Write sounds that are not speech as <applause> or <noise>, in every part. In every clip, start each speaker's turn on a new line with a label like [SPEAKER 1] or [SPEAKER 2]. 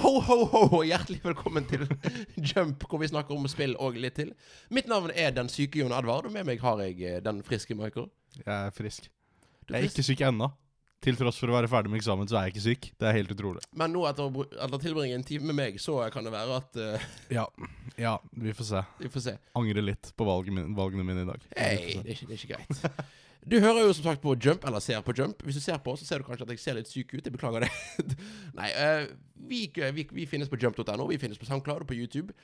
[SPEAKER 1] ho, ho, og hjertelig velkommen til <laughs> Jump, hvor vi snakker om spill og litt til. Mitt navn er Den syke Jon Edvard, og med meg har jeg eh, den friske Michael.
[SPEAKER 2] Jeg er frisk.
[SPEAKER 1] Du
[SPEAKER 2] Jeg er ikke syk ennå. Til tross for å være ferdig med eksamen, så er jeg ikke syk. Det er helt utrolig.
[SPEAKER 1] Men nå etter å bru- etter å tilbringe en time med meg, så kan det være at eh,
[SPEAKER 2] Ja, ja vi får se.
[SPEAKER 1] Vi får se.
[SPEAKER 2] Angrer litt på valget min, valgene mine i dag.
[SPEAKER 1] Hei, det, er ikke- det er ikke greit. <laughs> Du hører jo som sagt på Jump, eller ser på Jump. Hvis du ser på, så ser du kanskje at jeg ser litt syk ut. Jeg beklager det. <laughs> Nei, eh, vi, vi, vi finnes på jump.no, vi finnes på SoundCloud og på YouTube.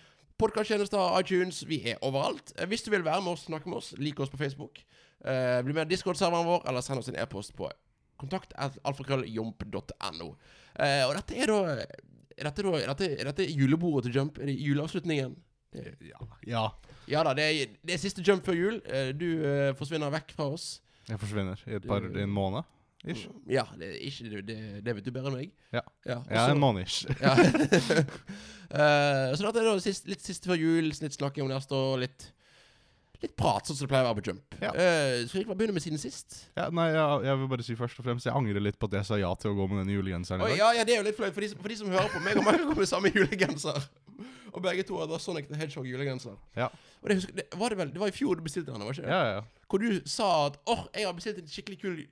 [SPEAKER 1] Podkasttjenester, iTunes, vi er overalt. Eh, Hvis du vil være med oss, snakke med oss, lik oss på Facebook. Eh, bli med i Discord-serveren vår, eller send oss en e-post på kontakt alfakrølljomp.no. Eh, og dette er da er dette, da, er dette, er dette julebordet til Jump? Er det juleavslutningen? Det,
[SPEAKER 2] Ja. ja.
[SPEAKER 1] ja da, det er, det er siste jump før jul. Eh, Du eh, forsvinner vekk fra oss.
[SPEAKER 2] Jeg forsvinner i et par, i en måned. Ish.
[SPEAKER 1] Ja, det, er ikke, det, det- det vet du bedre enn meg.
[SPEAKER 2] Ja.
[SPEAKER 1] ja, og
[SPEAKER 2] Ja,
[SPEAKER 1] så-
[SPEAKER 2] en måned ish.
[SPEAKER 1] <laughs> ja. Eh, så dette er da sist, litt siste før jul, litt snakking om neste år, litt, litt prat, sånn som det pleier å være på jump.
[SPEAKER 2] Ja.
[SPEAKER 1] Eh, skal vi ikke bare begynne med siden sist?
[SPEAKER 2] Ja, nei, jeg, jeg vil bare si først og fremst Jeg angrer litt på at jeg sa ja til å gå med den julegenseren
[SPEAKER 1] Oi,
[SPEAKER 2] i dag.
[SPEAKER 1] ja, ja, det er jo litt flaut for, de som- for de som hører på. Meg og Michael kom i samme julegenser. Og begge to hadde Sonic the Hedgehog julegenser.
[SPEAKER 2] Ja.
[SPEAKER 1] Og det, husker, det, var det, vel, det var i fjor du bestilte den, var ikke det?
[SPEAKER 2] Ja, ja, ja.
[SPEAKER 1] Hvor du sa at åh, jeg har bestilt en skikkelig kul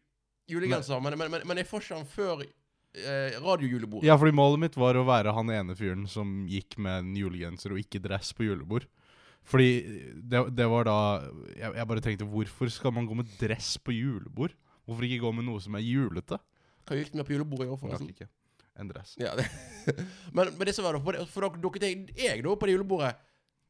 [SPEAKER 1] julegenser, men, men, men, men jeg får ikke den før eh, radiojulebordet.
[SPEAKER 2] ja, fordi målet mitt var å være han ene fyren som gikk med en julegenser og ikke dress på julebord. Fordi det, det var da jeg, jeg bare tenkte hvorfor skal man gå med dress på julebord? Hvorfor ikke gå med noe som er julete?
[SPEAKER 1] Hva gikk det med på julebordet i år,
[SPEAKER 2] Rakk
[SPEAKER 1] forresten?
[SPEAKER 2] ikke. En dress.
[SPEAKER 1] Ja, det. <laughs> men, men det som var da, for, det- for da dukket jeg, jeg da opp på det julebordet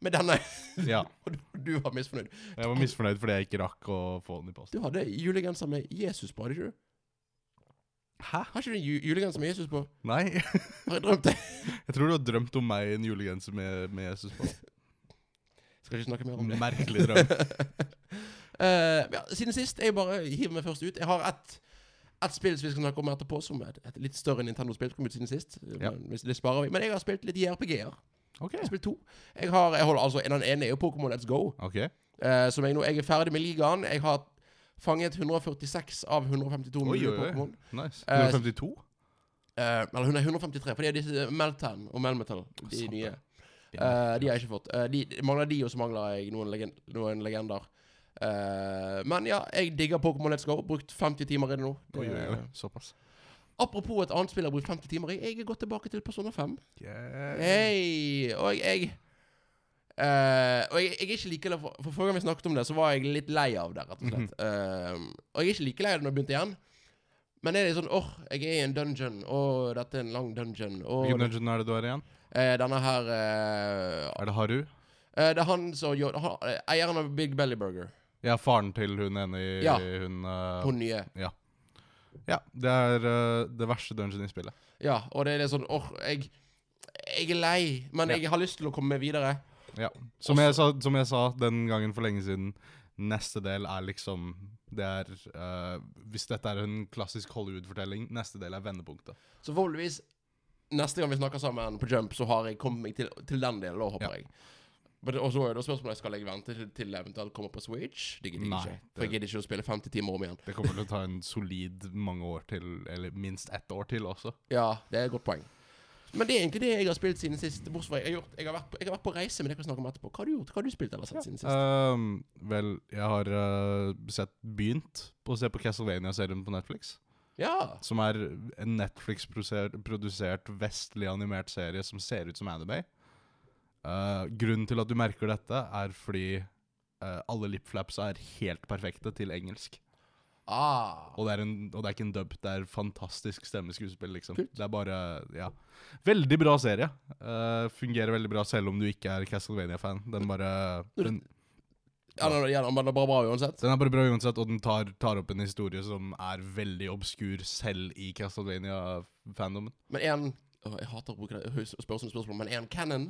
[SPEAKER 1] med denne, <laughs>
[SPEAKER 2] <laughs> Ja.
[SPEAKER 1] og du, du var misfornøyd.
[SPEAKER 2] Jeg var misfornøyd fordi jeg ikke rakk å få den i posten.
[SPEAKER 1] Du hadde julegenser med Jesus på, hadde ikke du?
[SPEAKER 2] Hæ?
[SPEAKER 1] Har ikke du en ju- julegenser med Jesus på? <laughs>
[SPEAKER 2] Nei.
[SPEAKER 1] Har jeg drømt det?
[SPEAKER 2] Jeg tror du har drømt om meg i en julegenser med, med Jesus på.
[SPEAKER 1] <laughs> Skal ikke snakke mer om det.
[SPEAKER 2] Merkelig drøm.
[SPEAKER 1] <laughs> Eh, ja, siden sist, jeg bare hiver meg først ut. Jeg har ett et spill som vi skal snakke om etterpå, som er et litt større Nintendo-spill som kom ut siden sist.
[SPEAKER 2] Ja.
[SPEAKER 1] Men Det sparer vi. Men jeg har spilt litt JRPG-er. Jeg
[SPEAKER 2] Ok.
[SPEAKER 1] har spilt to. Jeg har, jeg holder altså, Den ene er jo Pokémon Let's Go,
[SPEAKER 2] Ok.
[SPEAKER 1] eh, som jeg nå Jeg er ferdig med ligaen. Jeg har fanget 146 av 152
[SPEAKER 2] Oi,
[SPEAKER 1] mulige
[SPEAKER 2] oi, oi.
[SPEAKER 1] Pokémon.
[SPEAKER 2] Nice.
[SPEAKER 1] Eh,
[SPEAKER 2] 152?
[SPEAKER 1] Eh, eller hun er 153, for det er disse Meltan og Melmetal, de
[SPEAKER 2] Sant det.
[SPEAKER 1] nye.
[SPEAKER 2] De
[SPEAKER 1] Eh, de har jeg ikke fått. Eh, de, mangler de, og så mangler jeg noen, legen, noen legender. Eh, men ja, jeg digger Pokémon Let's Go. Brukt 50 timer i det nå. Det-
[SPEAKER 2] Oi, oi, oi. Såpass.
[SPEAKER 1] Apropos et annet spill jeg har brukt 50 timer i. Jeg er gått tilbake til Persona 5.
[SPEAKER 2] Yeah.
[SPEAKER 1] Hei! Og jeg eh, og jeg, jeg er ikke like lei for, for Forrige gang vi snakket om det, så var jeg litt lei av det, rett og
[SPEAKER 2] <laughs>
[SPEAKER 1] slett. Eh, og jeg er ikke like lei av det når jeg begynte igjen. Men er det sånn åh, jeg er i en dungeon. Å, dette er en lang dungeon. Åh,
[SPEAKER 2] Hvilken dungeon er det du er i igjen?
[SPEAKER 1] Eh, denne her eh,
[SPEAKER 2] Er det Haru?
[SPEAKER 1] eh, Det er han som gjør han, eh, Eieren av Big Belly Burger.
[SPEAKER 2] Ja, faren til hun ene i
[SPEAKER 1] Ja.
[SPEAKER 2] hun, eh,
[SPEAKER 1] Hun nye.
[SPEAKER 2] Ja. Det er eh, det verste dungeon i spillet.
[SPEAKER 1] Ja, og det er litt sånn Åh, jeg Jeg er lei, men
[SPEAKER 2] Ja.
[SPEAKER 1] jeg har lyst til å komme meg videre.
[SPEAKER 2] Ja. Som, jeg sa, som jeg sa den gangen for lenge siden, neste del er liksom Det er eh, Hvis dette er en klassisk Hollywood-fortelling, neste del er vendepunktet.
[SPEAKER 1] Så forhåpentligvis neste gang vi snakker sammen på Jump, så har jeg kommet meg til, til den delen, da, håper
[SPEAKER 2] Ja.
[SPEAKER 1] jeg. Men det- Og så er det spørsmålet Skal jeg vente til, til det eventuelt kommer på Switch. Det gidder jeg
[SPEAKER 2] Nei,
[SPEAKER 1] ikke. For
[SPEAKER 2] det-
[SPEAKER 1] jeg gidder ikke å spille 50 timer om igjen.
[SPEAKER 2] Det kommer til å ta en solid mange år til, eller minst ett år til også.
[SPEAKER 1] Ja, det er et godt poeng. Men det er egentlig det jeg har spilt siden sist. Bortsett fra jeg har, gjort, jeg har, vært, på, jeg har vært på reise, men det kan vi snakke om etterpå. Hva har du gjort? Hva har du spilt eller sett siden sist?
[SPEAKER 2] Ehm, vel, jeg har eh, sett begynt på å se på Castlevania-serien på Netflix.
[SPEAKER 1] ja.
[SPEAKER 2] Som er en Netflix-produsert vestlig animert serie som ser ut som anime. Eh, grunnen til at du merker dette, er fordi eh, alle lipflaps er helt perfekte til engelsk.
[SPEAKER 1] Ah.
[SPEAKER 2] Og det, er en, og det er ikke en dub, det er fantastisk stemmeskuespill, liksom.
[SPEAKER 1] Kult.
[SPEAKER 2] Det er bare Ja. Veldig bra serie. Eh, fungerer veldig bra selv om du ikke er Castlevania-fan. Den bare den,
[SPEAKER 1] Ja, den, ja, den var bra, bra uansett.
[SPEAKER 2] den er bare bra uansett, og den tar, tar opp en historie som er veldig obskur selv i Castlevania-fandomen.
[SPEAKER 1] Men en Åh, Jeg hater å bruke det hø- spørre sånne spørsmål, men en Cannon?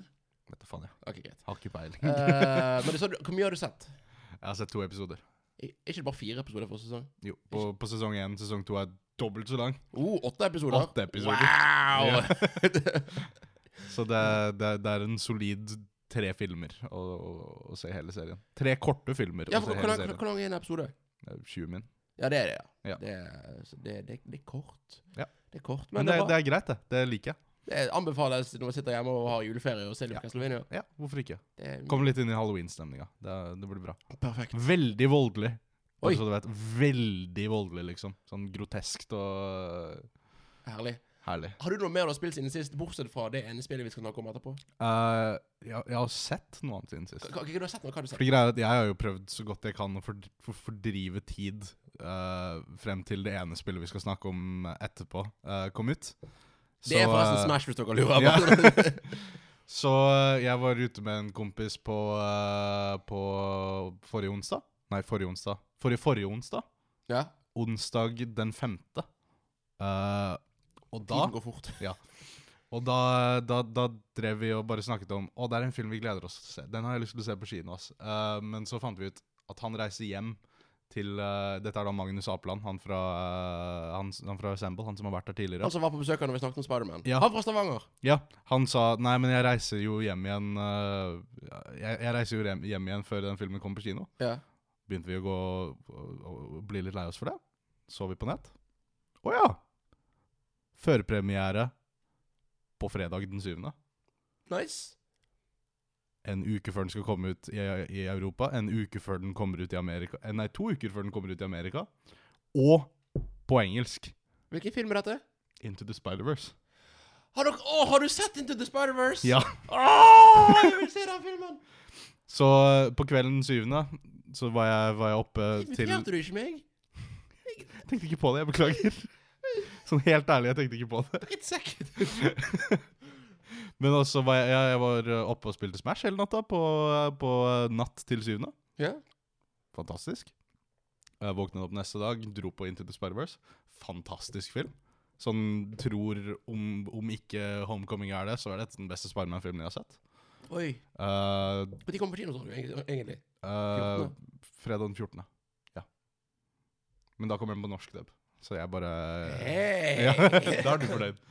[SPEAKER 2] Vet da faen, jeg.
[SPEAKER 1] Ok, greit.
[SPEAKER 2] Har ikke
[SPEAKER 1] <laughs>
[SPEAKER 2] peiling.
[SPEAKER 1] Eh, men du sa, du- hvor mye har du sett?
[SPEAKER 2] Jeg har sett to episoder.
[SPEAKER 1] Er ikke det bare fire episoder for sesong?
[SPEAKER 2] Jo, På, på sesong én. Sesong to er dobbelt så lang.
[SPEAKER 1] Oh, åtte episoder?
[SPEAKER 2] Åtte episoder.
[SPEAKER 1] Wow!
[SPEAKER 2] Så det, er-
[SPEAKER 1] Mm.
[SPEAKER 2] det, er- det er en solid tre filmer å, å, å se hele serien. Tre korte filmer
[SPEAKER 1] <laughs> ja,
[SPEAKER 2] å
[SPEAKER 1] for
[SPEAKER 2] se
[SPEAKER 1] hvor,
[SPEAKER 2] hele
[SPEAKER 1] lang- hvor,
[SPEAKER 2] serien.
[SPEAKER 1] hvor lang er en episode?
[SPEAKER 2] Det er 20 min.
[SPEAKER 1] Ja, det er det, ja.
[SPEAKER 2] Ja.
[SPEAKER 1] Det, er, så det, det, det er kort.
[SPEAKER 2] Ja.
[SPEAKER 1] Det er kort,
[SPEAKER 2] Men det, det er greit, det. Det liker jeg.
[SPEAKER 1] Det anbefales når man sitter hjemme og har juleferie og ser litt
[SPEAKER 2] Ja.
[SPEAKER 1] Castlevania.
[SPEAKER 2] Ja, hvorfor ikke?
[SPEAKER 1] Det er
[SPEAKER 2] Kom litt inn i halloween-stemninga. Det, er- det blir bra.
[SPEAKER 1] perfekt.
[SPEAKER 2] Veldig voldelig.
[SPEAKER 1] Oi.
[SPEAKER 2] Bare så du vet. Veldig voldelig, liksom. Sånn groteskt og
[SPEAKER 1] Herlig.
[SPEAKER 2] herlig.
[SPEAKER 1] Har du noe mer du har spilt siden sist, bortsett fra det ene spillet vi skal snakke om etterpå?
[SPEAKER 2] Eh, jeg, jeg har sett noe annet siden sist.
[SPEAKER 1] Hva, hva, hva du har sett nå? Hva har du sett?
[SPEAKER 2] For greia er at Jeg har jo prøvd så godt jeg kan å ford- for- fordrive tid eh, frem til det ene spillet vi skal snakke om etterpå, eh, kom ut.
[SPEAKER 1] Det er
[SPEAKER 2] Så,
[SPEAKER 1] forresten
[SPEAKER 2] eh,
[SPEAKER 1] Smash, hvis dere lurer.
[SPEAKER 2] ja.
[SPEAKER 1] bare.
[SPEAKER 2] Så eh, jeg var ute med en kompis på, eh, på forrige onsdag. Nei, forrige onsdag. Forrige forrige onsdag.
[SPEAKER 1] <laughs> ja.
[SPEAKER 2] Onsdag den femte. Eh, og da
[SPEAKER 1] Tiden går fort.
[SPEAKER 2] Og da, da, da drev vi og bare snakket om Å, det er en film vi gleder oss til å se. Den har jeg lyst til å se på kino. ass. Eh, men så fant vi ut at han reiser hjem til eh, Dette er da Magnus Apeland, han fra, eh, han, han fra Assemble, han som har vært her tidligere.
[SPEAKER 1] Han som var på besøk her når vi snakket om Spiderman.
[SPEAKER 2] Ja.
[SPEAKER 1] Han fra Stavanger.
[SPEAKER 2] Ja, han sa Nei, men jeg reiser jo hjem igjen eh, jeg, jeg reiser jo hjem, hjem igjen før den filmen kommer på kino.
[SPEAKER 1] Ja.
[SPEAKER 2] Begynte vi å gå og, og, og bli litt lei oss for det. Så vi på nett. Å ja! Førpremiere på fredag den syvende.
[SPEAKER 1] Nice.
[SPEAKER 2] en uke før den skal komme ut i, i Europa, en uke før den kommer ut i Amerika eh, Nei, to uker før den kommer ut i Amerika, og på engelsk.
[SPEAKER 1] Hvilken film er dette?
[SPEAKER 2] Into the Spider-Verse.
[SPEAKER 1] Har, dere, å, har du sett Into the Spider-Verse?
[SPEAKER 2] Ja.
[SPEAKER 1] Åh, jeg vil se den
[SPEAKER 2] <laughs>
[SPEAKER 1] filmen!
[SPEAKER 2] Så eh, på kvelden den syvende så var jeg, var jeg oppe til
[SPEAKER 1] Inviterte du ikke meg?
[SPEAKER 2] Jeg tenkte ikke på det, jeg beklager. Sånn helt ærlig, jeg tenkte ikke på det.
[SPEAKER 1] Dritt sekk.
[SPEAKER 2] <laughs> Men også var jeg, jeg, jeg var eh, oppe og spilte Smash hele natta, på, på eh, natt til syvende.
[SPEAKER 1] Ja.
[SPEAKER 2] Fantastisk. Jeg våknet opp neste dag, dro på Into the Spider-Verse. Fantastisk film. Sånn tror om, om ikke Homecoming er det, så er dette den beste Spiderman-filmen jeg har sett.
[SPEAKER 1] Oi.
[SPEAKER 2] Eh,
[SPEAKER 1] Når kom på kino, tror du, eng- egentlig?
[SPEAKER 2] eh, fredag den 14. Ja. Men da kom den på norsk dub, så jeg bare
[SPEAKER 1] Hei!
[SPEAKER 2] eh, ja, <laughs>
[SPEAKER 1] <laughs>
[SPEAKER 2] Da er du fornøyd.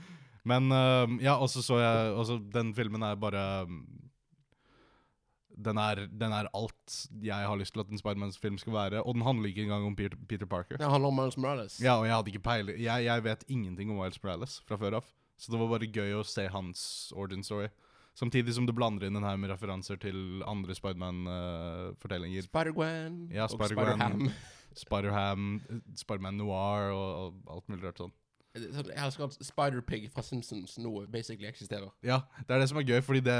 [SPEAKER 2] Men eh, ja, og så så jeg også, Den filmen er bare um, den er, den er alt jeg har lyst til at en Spiderman-film skal være. Og den handler ikke engang om Peter, Peter Parker.
[SPEAKER 1] Det handler om Miles Morales.
[SPEAKER 2] Ja, og jeg hadde ikke peiling jeg, jeg vet ingenting om Miles Morales fra før av. Så det var bare gøy å se hans origin story. Samtidig som du blander inn den her med referanser til andre Spiderman-fortellinger.
[SPEAKER 1] Spider-Gwen
[SPEAKER 2] Ja,
[SPEAKER 1] og
[SPEAKER 2] Spider-Gwen.
[SPEAKER 1] Spider-Ham. Spider-Ham,
[SPEAKER 2] eh, Spiderman Noir og, og alt mulig rart sånn.
[SPEAKER 1] Sånn, Jeg elsker at Spider-Pig fra Simpsons nå basically eksisterer.
[SPEAKER 2] Ja, det er det som er gøy, fordi det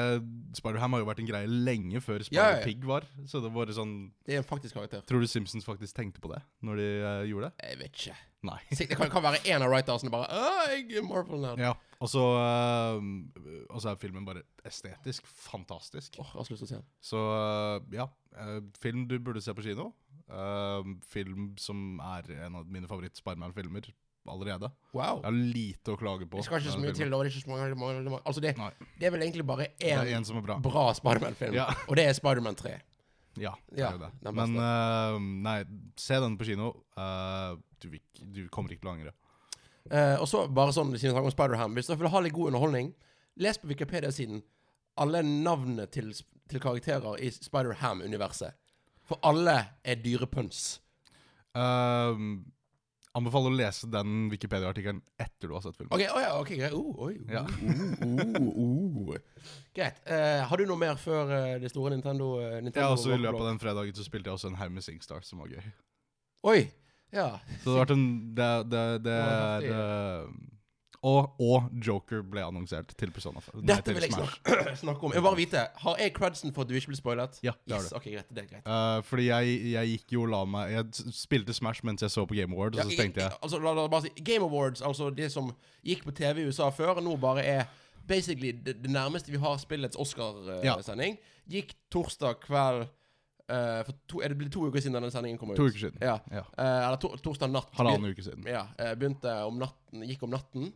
[SPEAKER 2] Spider-Ham har jo vært en greie lenge før
[SPEAKER 1] Ja, ja, ja.
[SPEAKER 2] Spider-Pig var. Så det var bare sånn
[SPEAKER 1] Det er en faktisk karakter.
[SPEAKER 2] Tror du Simpsons faktisk tenkte på det når de eh, gjorde det?
[SPEAKER 1] Jeg vet ikke.
[SPEAKER 2] Nei. <laughs>
[SPEAKER 1] Sikkert det kan, kan være en av writersene bare Åh, jeg er Marvel-nerd.
[SPEAKER 2] Ja, og så eh, Og så er filmen bare estetisk fantastisk.
[SPEAKER 1] Åh, jeg har så lyst til å se den.
[SPEAKER 2] Så øh, ja, øh, film du burde se på kino. Øh, film som er en av mine favoritt-Spiderman-filmer allerede.
[SPEAKER 1] Wow.
[SPEAKER 2] Jeg har lite å klage på.
[SPEAKER 1] Det skal ikke så
[SPEAKER 2] med
[SPEAKER 1] mye
[SPEAKER 2] den
[SPEAKER 1] til,
[SPEAKER 2] filmen.
[SPEAKER 1] og det er ikke så mange, mange, mange. Altså, det,
[SPEAKER 2] Nei.
[SPEAKER 1] det er vel egentlig bare
[SPEAKER 2] Det er
[SPEAKER 1] én
[SPEAKER 2] en som er bra.
[SPEAKER 1] bra Spiderman-film,
[SPEAKER 2] Ja.
[SPEAKER 1] og det er Spiderman 3.
[SPEAKER 2] Ja, det
[SPEAKER 1] Ja,
[SPEAKER 2] er jo det.
[SPEAKER 1] den beste.
[SPEAKER 2] Men øh, nei, se den på kino. Øh, du, vil ikke- du kommer ikke til å angre.
[SPEAKER 1] Eh, og så bare sånn siden vi snakker om Spider-Ham Hvis dere vil ha litt god underholdning, les på Wikipedia-siden alle navnene til, til karakterer i Spider-Ham-universet. For alle er dyrepøns.
[SPEAKER 2] Øh, anbefaler å lese den Wikipedia-artikkelen etter du har sett filmen.
[SPEAKER 1] OK, å ja, ok, greit. Oh, oi,
[SPEAKER 2] Ja.
[SPEAKER 1] oh, oh, oh. Greit. Eh, har du noe mer før eh, det store Nintendo? Uh,
[SPEAKER 2] Ja,
[SPEAKER 1] Nintendo
[SPEAKER 2] og så I løpet av den fredagen så spilte jeg også en haug med Singstar, som var gøy.
[SPEAKER 1] Oi! Ja.
[SPEAKER 2] Så det har vært en Det, det, det
[SPEAKER 1] Det
[SPEAKER 2] er eh, og, og Joker ble annonsert til Persona 5. Nei,
[SPEAKER 1] Dette
[SPEAKER 2] til
[SPEAKER 1] vil jeg
[SPEAKER 2] Smash.
[SPEAKER 1] snakke, <clears throat> snakke om. Jeg vil bare vite, Har jeg credsen for at du ikke ble spoilet?
[SPEAKER 2] Ja, det har
[SPEAKER 1] yes,
[SPEAKER 2] du.
[SPEAKER 1] ok, greit, det er greit.
[SPEAKER 2] Eh, fordi jeg, jeg gikk jo og la meg Jeg s- spilte Smash mens jeg så på Game Awards,
[SPEAKER 1] Ja,
[SPEAKER 2] og så
[SPEAKER 1] jeg-
[SPEAKER 2] tenkte jeg
[SPEAKER 1] jeg- Altså, la, la, bare si, Game Awards, altså det som gikk på TV i USA før, nå bare er basically det, det nærmeste vi har spillets
[SPEAKER 2] Ja.
[SPEAKER 1] Oscar-sending. Gikk torsdag kveld eh, for to, Er det blitt to uker siden denne sendingen kom ut?
[SPEAKER 2] To uker siden.
[SPEAKER 1] Ja.
[SPEAKER 2] Ja.
[SPEAKER 1] Eh, eller tor torsdag natt.
[SPEAKER 2] Halvannen uke siden.
[SPEAKER 1] Ja, eh, begynte om natten, gikk om natten.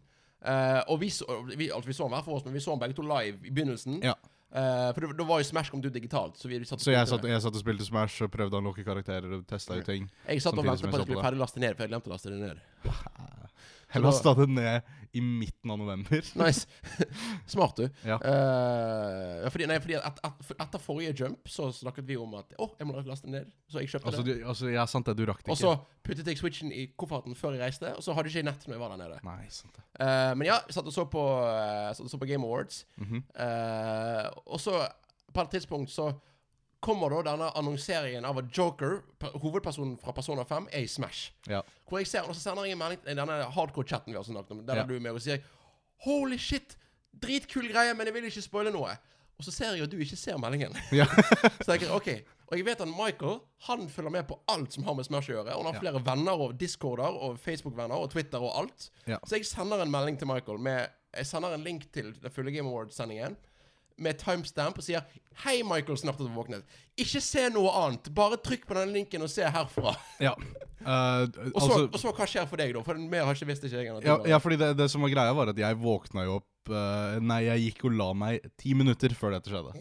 [SPEAKER 1] Eh, og vi så, vi, altså vi så den hver for oss, men vi så den begge to live i begynnelsen.
[SPEAKER 2] Ja.
[SPEAKER 1] Eh, for det- da var jo Smash kommet ut digitalt. Så, vi satt og
[SPEAKER 2] Så jeg
[SPEAKER 1] spilte
[SPEAKER 2] satt,
[SPEAKER 1] det.
[SPEAKER 2] jeg satt og spilte Smash og prøvde å unlocke karakterer og testa ut ting.
[SPEAKER 1] jeg satt og
[SPEAKER 2] samtidig
[SPEAKER 1] ventet på at jeg
[SPEAKER 2] som jeg så på
[SPEAKER 1] skulle
[SPEAKER 2] det.
[SPEAKER 1] ferdig laste ned, for jeg glemte å laste det ned.
[SPEAKER 2] Heller
[SPEAKER 1] da-
[SPEAKER 2] stadig ned i midten av november.
[SPEAKER 1] Nice. <laughs> Smart, du.
[SPEAKER 2] Ja.
[SPEAKER 1] Eh, ja, fordi, nei, fordi at, at, for, etter forrige jump så snakket vi om at Å, jeg må laste den ned. Så jeg kjøpte
[SPEAKER 2] Altså,
[SPEAKER 1] det.
[SPEAKER 2] du, altså, ja, sant det, du rakk det
[SPEAKER 1] Og så
[SPEAKER 2] ikke.
[SPEAKER 1] puttet jeg switchen i kofferten før jeg reiste, og så hadde jeg ikke nett når jeg var der nede.
[SPEAKER 2] Nei, sant det.
[SPEAKER 1] Eh, men ja, jeg satt og så på, eh, satt og så på Game Awards.
[SPEAKER 2] Mhm.
[SPEAKER 1] Eh, og så, på et tidspunkt, så kommer da denne annonseringen av at Joker, per, hovedpersonen fra Persona 5, er i Smash.
[SPEAKER 2] Ja.
[SPEAKER 1] Hvor jeg ser, og så sender jeg en melding i denne hardcore-chatten vi har snakket om, der
[SPEAKER 2] Ja.
[SPEAKER 1] du er med og sier Holy shit! Dritkul greie, men jeg vil ikke spoile noe. Og så ser jeg at du ikke ser meldingen. <laughs>
[SPEAKER 2] Ja.
[SPEAKER 1] så tenker jeg, ok. Og jeg vet at Michael han følger med på alt som har med Smash å gjøre. Og han har
[SPEAKER 2] Ja.
[SPEAKER 1] flere venner og discorder og Facebook-venner og Twitter og alt.
[SPEAKER 2] Ja.
[SPEAKER 1] Så jeg sender en melding til Michael med Jeg sender en link til den fulle Game Awards-sendingen med timestamp og sier Hei, Michael, snart at du våknet. Ikke se noe annet. Bare trykk på den linken og se herfra.
[SPEAKER 2] ja. Eh,
[SPEAKER 1] Og så,
[SPEAKER 2] altså,
[SPEAKER 1] og så hva skjer for deg, da? For mer har ikke visst ikke jeg. enn at du
[SPEAKER 2] ja,
[SPEAKER 1] var-
[SPEAKER 2] ja, fordi det, det som var greia, var at jeg våkna jo opp eh, Nei, jeg gikk og la meg ti minutter før dette skjedde.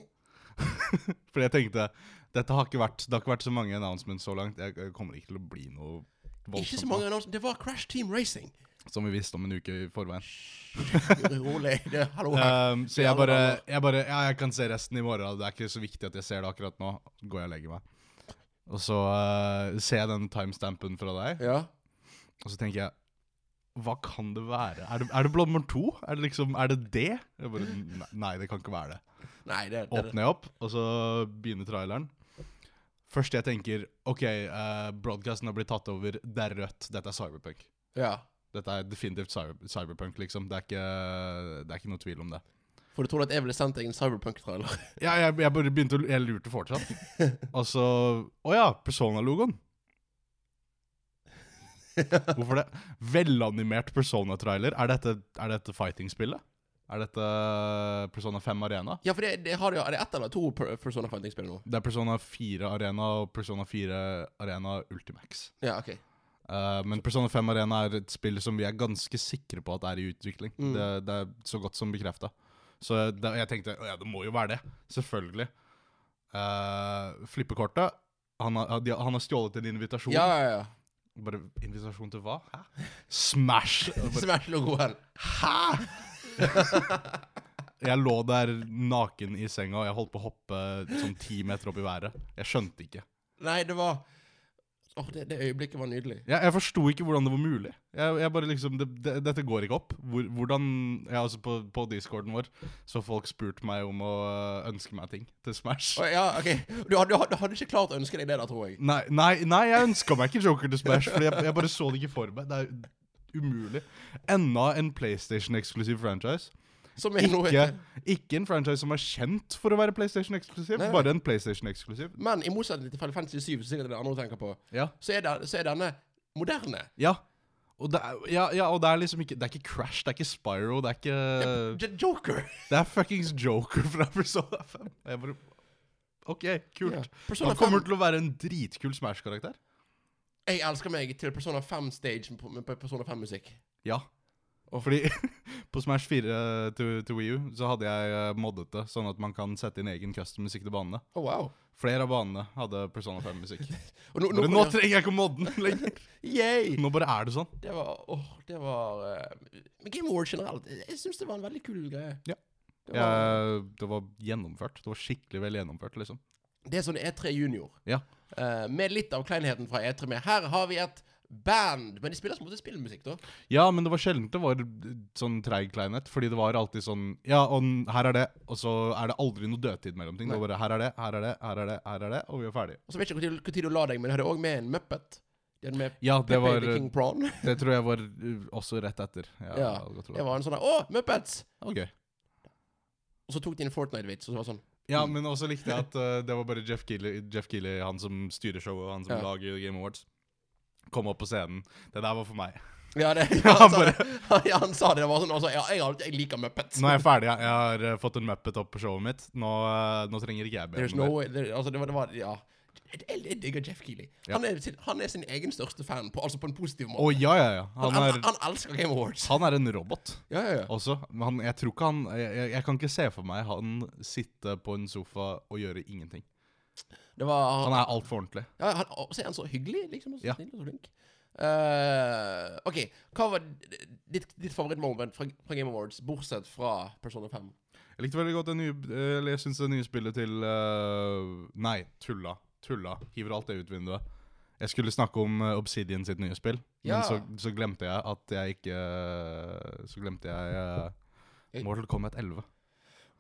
[SPEAKER 2] <laughs> fordi jeg tenkte dette har ikke vært, Det har ikke vært så mange announcements så langt. Jeg jeg kommer ikke til å bli noe
[SPEAKER 1] Ikke så
[SPEAKER 2] voldsomt
[SPEAKER 1] mange annonser. Det var Crash Team
[SPEAKER 2] <laughs>
[SPEAKER 1] Racing.
[SPEAKER 2] som vi visste om en uke i forveien.
[SPEAKER 1] Rolig. Det, hallo her.
[SPEAKER 2] Um, så
[SPEAKER 1] Ja,
[SPEAKER 2] jeg
[SPEAKER 1] det
[SPEAKER 2] bare,
[SPEAKER 1] var
[SPEAKER 2] jeg bare Ja, jeg kan se resten i morgen. Det er ikke så viktig at jeg ser det akkurat nå. Går jeg og legger meg. Og så eh, ser jeg den timestampen fra deg,
[SPEAKER 1] Ja.
[SPEAKER 2] og så tenker jeg hva kan det være? Er det, er det Bloodborne 2? Er det liksom, er det det? Jeg bare, "Nei, nei, det kan ikke være det.
[SPEAKER 1] Nei, det, det, det.
[SPEAKER 2] Åpner jeg opp, og så begynner traileren. Først jeg tenker OK, eh, broadcasten har blitt tatt over. Det er rødt. Dette er cyberpunk.
[SPEAKER 1] Ja.
[SPEAKER 2] Dette er definitivt cyber, cyberpunk, liksom. Det er, ikke, det er ikke noe tvil om det.
[SPEAKER 1] For du trodde at jeg ville sendt deg en cyberpunk-trailer? <laughs>
[SPEAKER 2] Ja, jeg, jeg bare begynte å Jeg lurte fortsatt. Og så Å ja, Persona-logoen. Hvorfor det? Velanimert Persona-trailer. Er dette, er dette fighting-spillet? Er dette Persona 5 Arena?
[SPEAKER 1] Ja, for det, det har jo, er det ett eller to per- Persona Fighting-spill nå?
[SPEAKER 2] Det er Persona 4 Arena og Persona 4 Arena Ultimax.
[SPEAKER 1] Ja, ok.
[SPEAKER 2] Eh, men Persona 5 Arena er et spill som vi er ganske sikre på at er i utvikling.
[SPEAKER 1] Mm.
[SPEAKER 2] Det, det er så godt som bekrefta. Så da, jeg tenkte «Å ja, det må jo være det. Selvfølgelig. Uh, Flippekortet han har, de, han har stjålet en invitasjon.
[SPEAKER 1] Ja, ja, <laughs> ja.
[SPEAKER 2] Bare Invitasjon til hva? Hæ? Smash! Og Bare,
[SPEAKER 1] Smash-logoen.
[SPEAKER 2] Hæ?! <laughs> jeg lå der naken i senga, og jeg holdt på å hoppe sånn ti meter opp i været. Jeg skjønte ikke.
[SPEAKER 1] Nei, det var Åh, det, det øyeblikket var nydelig.
[SPEAKER 2] Jeg, jeg forsto ikke hvordan det var mulig. Jeg, jeg bare liksom, det, det, Dette går ikke opp. Hvor, hvordan, ja, altså På, på discorden vår så har folk spurt meg om å øh, ønske meg ting til Smash.
[SPEAKER 1] Å, ja, OK. Du, had- du, had- du hadde ikke klart å ønske deg det, da, tror jeg.
[SPEAKER 2] Nei, nei, nei jeg ønska meg ikke Joker til Smash, Fordi jeg, jeg bare så det ikke for meg. Det er umulig. Enda en PlayStation-eksklusiv franchise.
[SPEAKER 1] Som er noe
[SPEAKER 2] Ikke, ikke en franchise som er kjent for å være PlayStation-eksklusiv,
[SPEAKER 1] Nei, nei.
[SPEAKER 2] bare en PlayStation-eksklusiv.
[SPEAKER 1] Men i motsetning til Final Fantasy 7, som sikkert er det andre du tenker på,
[SPEAKER 2] Ja.
[SPEAKER 1] så er, den- så er denne moderne.
[SPEAKER 2] Ja. Og det er, ja, ja, og det er liksom ikke Det er ikke Crash, det er ikke Spyro, det er ikke
[SPEAKER 1] J Joker.
[SPEAKER 2] Det er fuckings Joker fra Persona 5. Og jeg bare OK, kult.
[SPEAKER 1] Ja. Persona
[SPEAKER 2] Han kommer
[SPEAKER 1] 5.
[SPEAKER 2] til å være en dritkul Smash-karakter.
[SPEAKER 1] Jeg elsker meg til Persona 5-stage på, med Persona 5-musikk.
[SPEAKER 2] Ja. Fordi <laughs> på Smash 4 til, til Wii U så hadde jeg eh, moddet det, sånn at man kan sette inn egen custom-musikk til banene.
[SPEAKER 1] Å, wow.
[SPEAKER 2] Flere av banene hadde Persona 5-musikk.
[SPEAKER 1] Og nå,
[SPEAKER 2] Nå trenger jeg ikke å modde den lenger!
[SPEAKER 1] Yay!
[SPEAKER 2] Nå bare er det sånn.
[SPEAKER 1] Det var åh, det var eh, Men Game Award generelt, jeg- jeg syns det var en veldig kul greie.
[SPEAKER 2] Ja.
[SPEAKER 1] Det, var,
[SPEAKER 2] Jeg, det var gjennomført. Det var skikkelig vel gjennomført, liksom.
[SPEAKER 1] det er sånn E3 Junior.
[SPEAKER 2] Ja.
[SPEAKER 1] Eh, med litt av kleinheten fra E3 med. Her har vi et band, men de spiller som måte spillmusikk, da.
[SPEAKER 2] Ja, men det var sjelden det var sånn treig kleinhet, fordi det var alltid sånn Ja, og n- her er det, og så er det aldri noe dødtid mellom ting. Det var bare her er det, her er det, her er det, her er det, og vi er ferdige.
[SPEAKER 1] Og så vet jeg ikke når du la deg, men de hadde òg med en Muppet. De hadde med
[SPEAKER 2] Ja, det
[SPEAKER 1] Pepe
[SPEAKER 2] var eh,
[SPEAKER 1] the King
[SPEAKER 2] <laughs>
[SPEAKER 1] Prawn.
[SPEAKER 2] Det tror jeg var uh, også rett etter. Ja,
[SPEAKER 1] Ja,
[SPEAKER 2] jeg hadde godt trodd.
[SPEAKER 1] Det var en sånn der, Å, Muppets!
[SPEAKER 2] Ok.
[SPEAKER 1] Og så tok de en Fortnite-vits, og så var det sånn
[SPEAKER 2] Ja, men også likte jeg at uh, det var bare Jeff Keighley, Jeff Keighley, han som styrer showet, han som
[SPEAKER 1] Ja.
[SPEAKER 2] lager Game Awards, kom opp på scenen. Det der var for
[SPEAKER 1] <laughs>
[SPEAKER 2] meg.
[SPEAKER 1] Ja, det,
[SPEAKER 2] <laughs> Ja,
[SPEAKER 1] han, sa
[SPEAKER 2] bare-
[SPEAKER 1] det. <laughs> ja, han sa det. Det var sånn altså, ja, jeg, har- jeg liker Muppets.
[SPEAKER 2] Nå er jeg ferdig. Jeg, jeg har uh, fått en muppet opp på showet mitt. Nå, uh, nå trenger ikke jeg be
[SPEAKER 1] There's
[SPEAKER 2] om det.
[SPEAKER 1] no way there, Altså, det var, det var Ja. Jeg, jeg, jeg digger Jeff Keeley. Han, er sin, han er sin egen største fan, på, altså på en positiv
[SPEAKER 2] Å
[SPEAKER 1] måte.
[SPEAKER 2] ja, ja, ja.
[SPEAKER 1] Han,
[SPEAKER 2] Han er,
[SPEAKER 1] han elsker Game
[SPEAKER 2] <laughs>
[SPEAKER 1] Awards.
[SPEAKER 2] han er en robot.
[SPEAKER 1] Ja, ja, ja.
[SPEAKER 2] også. Men han, jeg tror ikke han jeg, jeg, jeg kan ikke se for meg han sitte på en sofa og gjøre ingenting.
[SPEAKER 1] Det var
[SPEAKER 2] Han er altfor ordentlig.
[SPEAKER 1] Ja, han, og så er han så hyggelig, liksom. Og så
[SPEAKER 2] Ja.
[SPEAKER 1] snill og så flink. Eh, OK, hva var ditt, ditt favorittmoment fra, fra Game Awards, bortsett fra Persona 5?
[SPEAKER 2] Jeg likte veldig godt det nye Eller jeg syns det nye spillet til eh, Nei, tulla. Tulla. Hiver alt det ut vinduet. Jeg skulle snakke om eh, Obsidian sitt nye spill,
[SPEAKER 1] Ja.
[SPEAKER 2] men så, så glemte jeg at jeg ikke eh, Så glemte jeg eh, Mortal Kombat 11.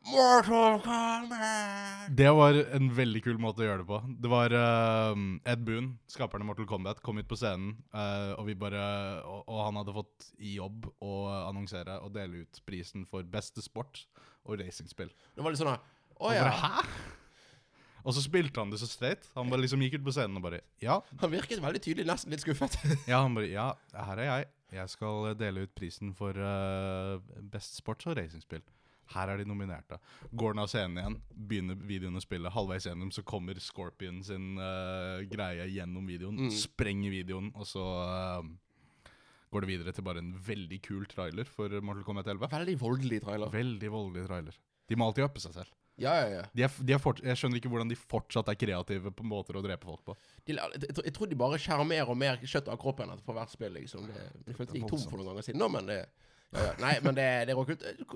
[SPEAKER 1] Mortal Kombat!
[SPEAKER 2] Det var en veldig kul måte å gjøre det på. Det var eh, Ed Boon, skaperen av Mortal Kombat, kom ut på scenen, eh, og, vi bare, og, og han hadde fått i jobb å annonsere og dele ut prisen for beste sport og racingspill.
[SPEAKER 1] Det var litt sånn Å
[SPEAKER 2] Og
[SPEAKER 1] ja.
[SPEAKER 2] bare, hæ? Og så spilte han det så straight. Han bare liksom gikk ut på scenen og bare Ja.
[SPEAKER 1] Han virket veldig tydelig nesten litt skuffet. <laughs>
[SPEAKER 2] Ja, han bare, ja her er jeg. Jeg skal eh, dele ut prisen for eh, best sports- og racingspill. Her er de nominerte. Går den av scenen igjen, begynner videoen å spille. Halvveis gjennom så kommer Scorpion sin eh, greie gjennom videoen. Sprenger videoen, og så eh, går det videre til bare en veldig kul trailer for Mortal Kombat 11.
[SPEAKER 1] Veldig voldelig trailer.
[SPEAKER 2] Veldig voldelig trailer. De må alltid uppe seg selv.
[SPEAKER 1] Ja, ja, ja.
[SPEAKER 2] De er, f- de er fort, jeg skjønner ikke hvordan de fortsatt er kreative på måter å drepe folk på.
[SPEAKER 1] De, la- jeg, tror- jeg tror de bare skjærer mer og mer kjøtt av kroppen etter for hvert spill, liksom. Det, jeg følte jeg gikk tom for noen ganger siden nå, men det ja, ja. Nei, men det, det er råkult.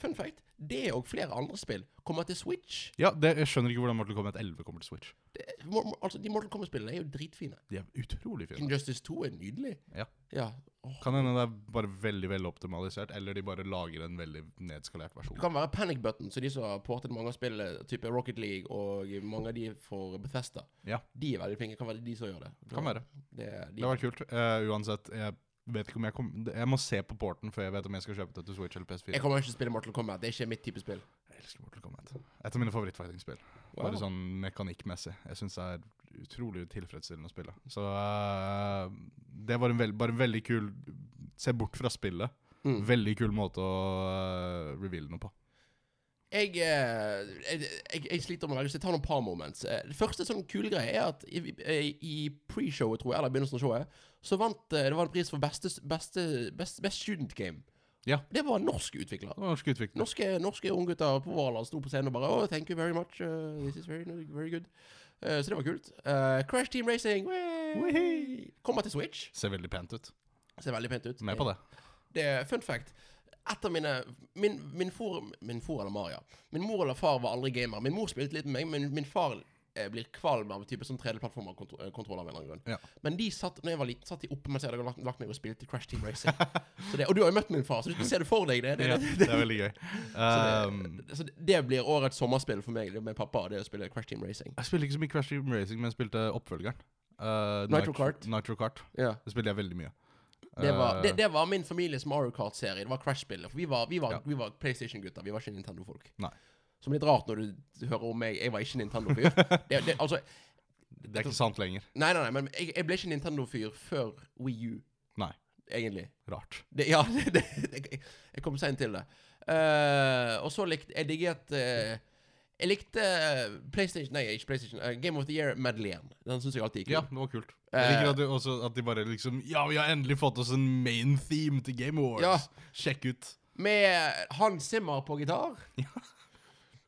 [SPEAKER 1] Fun fact, det og flere andre spill kommer til Switch.
[SPEAKER 2] Ja, det, Jeg skjønner ikke hvordan Mortal Kombat 11 kommer til Switch.
[SPEAKER 1] Det, Mor- Mor- altså, De Mortal Kombat-spillene er jo dritfine.
[SPEAKER 2] De er utrolig fine.
[SPEAKER 1] Injustice 2 er nydelig.
[SPEAKER 2] Ja.
[SPEAKER 1] Ja. Åh.
[SPEAKER 2] Kan hende det er bare veldig veldig optimalisert, eller de bare lager en veldig nedskalert
[SPEAKER 1] Det
[SPEAKER 2] versjon.
[SPEAKER 1] kan være Panic Button, så de som har portet mange av spillene, type Rocket League og mange av de for Bethesda,
[SPEAKER 2] Ja,
[SPEAKER 1] de er veldig flinke. Kan være de som gjør det.
[SPEAKER 2] kan være.
[SPEAKER 1] Det, de,
[SPEAKER 2] Det var kult. Eh, uansett, jeg vet ikke om jeg kom... Jeg må se på porten før jeg vet om jeg skal kjøpe det til Switch eller PS4.
[SPEAKER 1] Jeg kommer ikke til å spille Mortal Kombat. Det er ikke mitt type spill.
[SPEAKER 2] Jeg elsker Mortal Kombat. Et av mine favorittfightingspill. Bare sånn mekanikkmessig. Jeg syns det er utrolig tilfredsstillende å spille. Så eh, det var en veld, bare en veldig kul Se bort fra spillet.
[SPEAKER 1] Mm.
[SPEAKER 2] Veldig kul måte å eh, reveale noe på.
[SPEAKER 1] Jeg, eh, jeg, jeg, jeg sliter med å velge, så jeg tar noen par moments. Eh, Det første sånn kule greie er at i, i, i pre-showet, tror jeg, eller i begynnelsen av showet, så vant eh, det var en pris for beste, beste, best, best student game.
[SPEAKER 2] Ja.
[SPEAKER 1] Det var en norsk utvikler.
[SPEAKER 2] Det var norsk utvikling.
[SPEAKER 1] Norske, norske unggutter på vår alder sto på scenen og bare Oh, thank you very much. eh, this is very, very good. Eh, så det var kult. Eh, Crash Team Racing wey!
[SPEAKER 2] Wehey!
[SPEAKER 1] kommer til Switch.
[SPEAKER 2] Ser veldig pent ut.
[SPEAKER 1] Ser veldig pent ut.
[SPEAKER 2] Med på det.
[SPEAKER 1] Det er fun fact. Et av mine Min, min, for, min for eller Maria. Min mor eller far var aldri gamer. Min mor spilte litt med meg, men min far eh, blir kvalm av type sånn 3D-plattformer-kontroller. av en eller annen grunn
[SPEAKER 2] Ja.
[SPEAKER 1] Men de satt når jeg var liten, satt de oppe mens jeg hadde lagt, lagt meg og spilte Crash Team Racing. så det, og du har jo møtt min far, så du ser det for deg. Det, det,
[SPEAKER 2] Ja,
[SPEAKER 1] det,
[SPEAKER 2] <laughs> det er veldig gøy. Um,
[SPEAKER 1] det, så det blir årets sommerspill for meg det med pappa, det å spille Crash Team Racing.
[SPEAKER 2] jeg spilte ikke så mye Crash Team Racing, men jeg spilte oppfølgeren. Uh,
[SPEAKER 1] Nitro Kart.
[SPEAKER 2] Nitro Kart.
[SPEAKER 1] Ja.
[SPEAKER 2] Det spilte jeg veldig mye.
[SPEAKER 1] Det, var,
[SPEAKER 2] Uh,
[SPEAKER 1] det, det var min families Mario Kart-serie. Det var Crash-spillet. For vi var, vi var,
[SPEAKER 2] Ja.
[SPEAKER 1] vi var PlayStation-gutter, vi var ikke Nintendo-folk.
[SPEAKER 2] Nei.
[SPEAKER 1] Som litt rart når du hører om meg. Jeg var ikke
[SPEAKER 2] <laughs>
[SPEAKER 1] Nintendo-fyr. det, det, altså,
[SPEAKER 2] det er ikke sant lenger.
[SPEAKER 1] nei, nei, nei, men jeg, jeg ble ikke Nintendo-fyr før Wii U,
[SPEAKER 2] Nei.
[SPEAKER 1] egentlig.
[SPEAKER 2] Rart.
[SPEAKER 1] Det, ja, <laughs> det, det, jeg, jeg kom seint til det. Eh, og så likte jeg digget eh, Jeg likte PlayStation Nei, ikke PlayStation. eh, Game of the Year-medleyen. Den syns jeg alltid gikk
[SPEAKER 2] Ja, det var kult. Jeg
[SPEAKER 1] Eh,
[SPEAKER 2] liker at, du, også, at de bare liksom Ja, vi har endelig fått oss en main theme til Game Awards!
[SPEAKER 1] Ja.
[SPEAKER 2] Sjekk ut.
[SPEAKER 1] Med Hans Zimmer på gitar.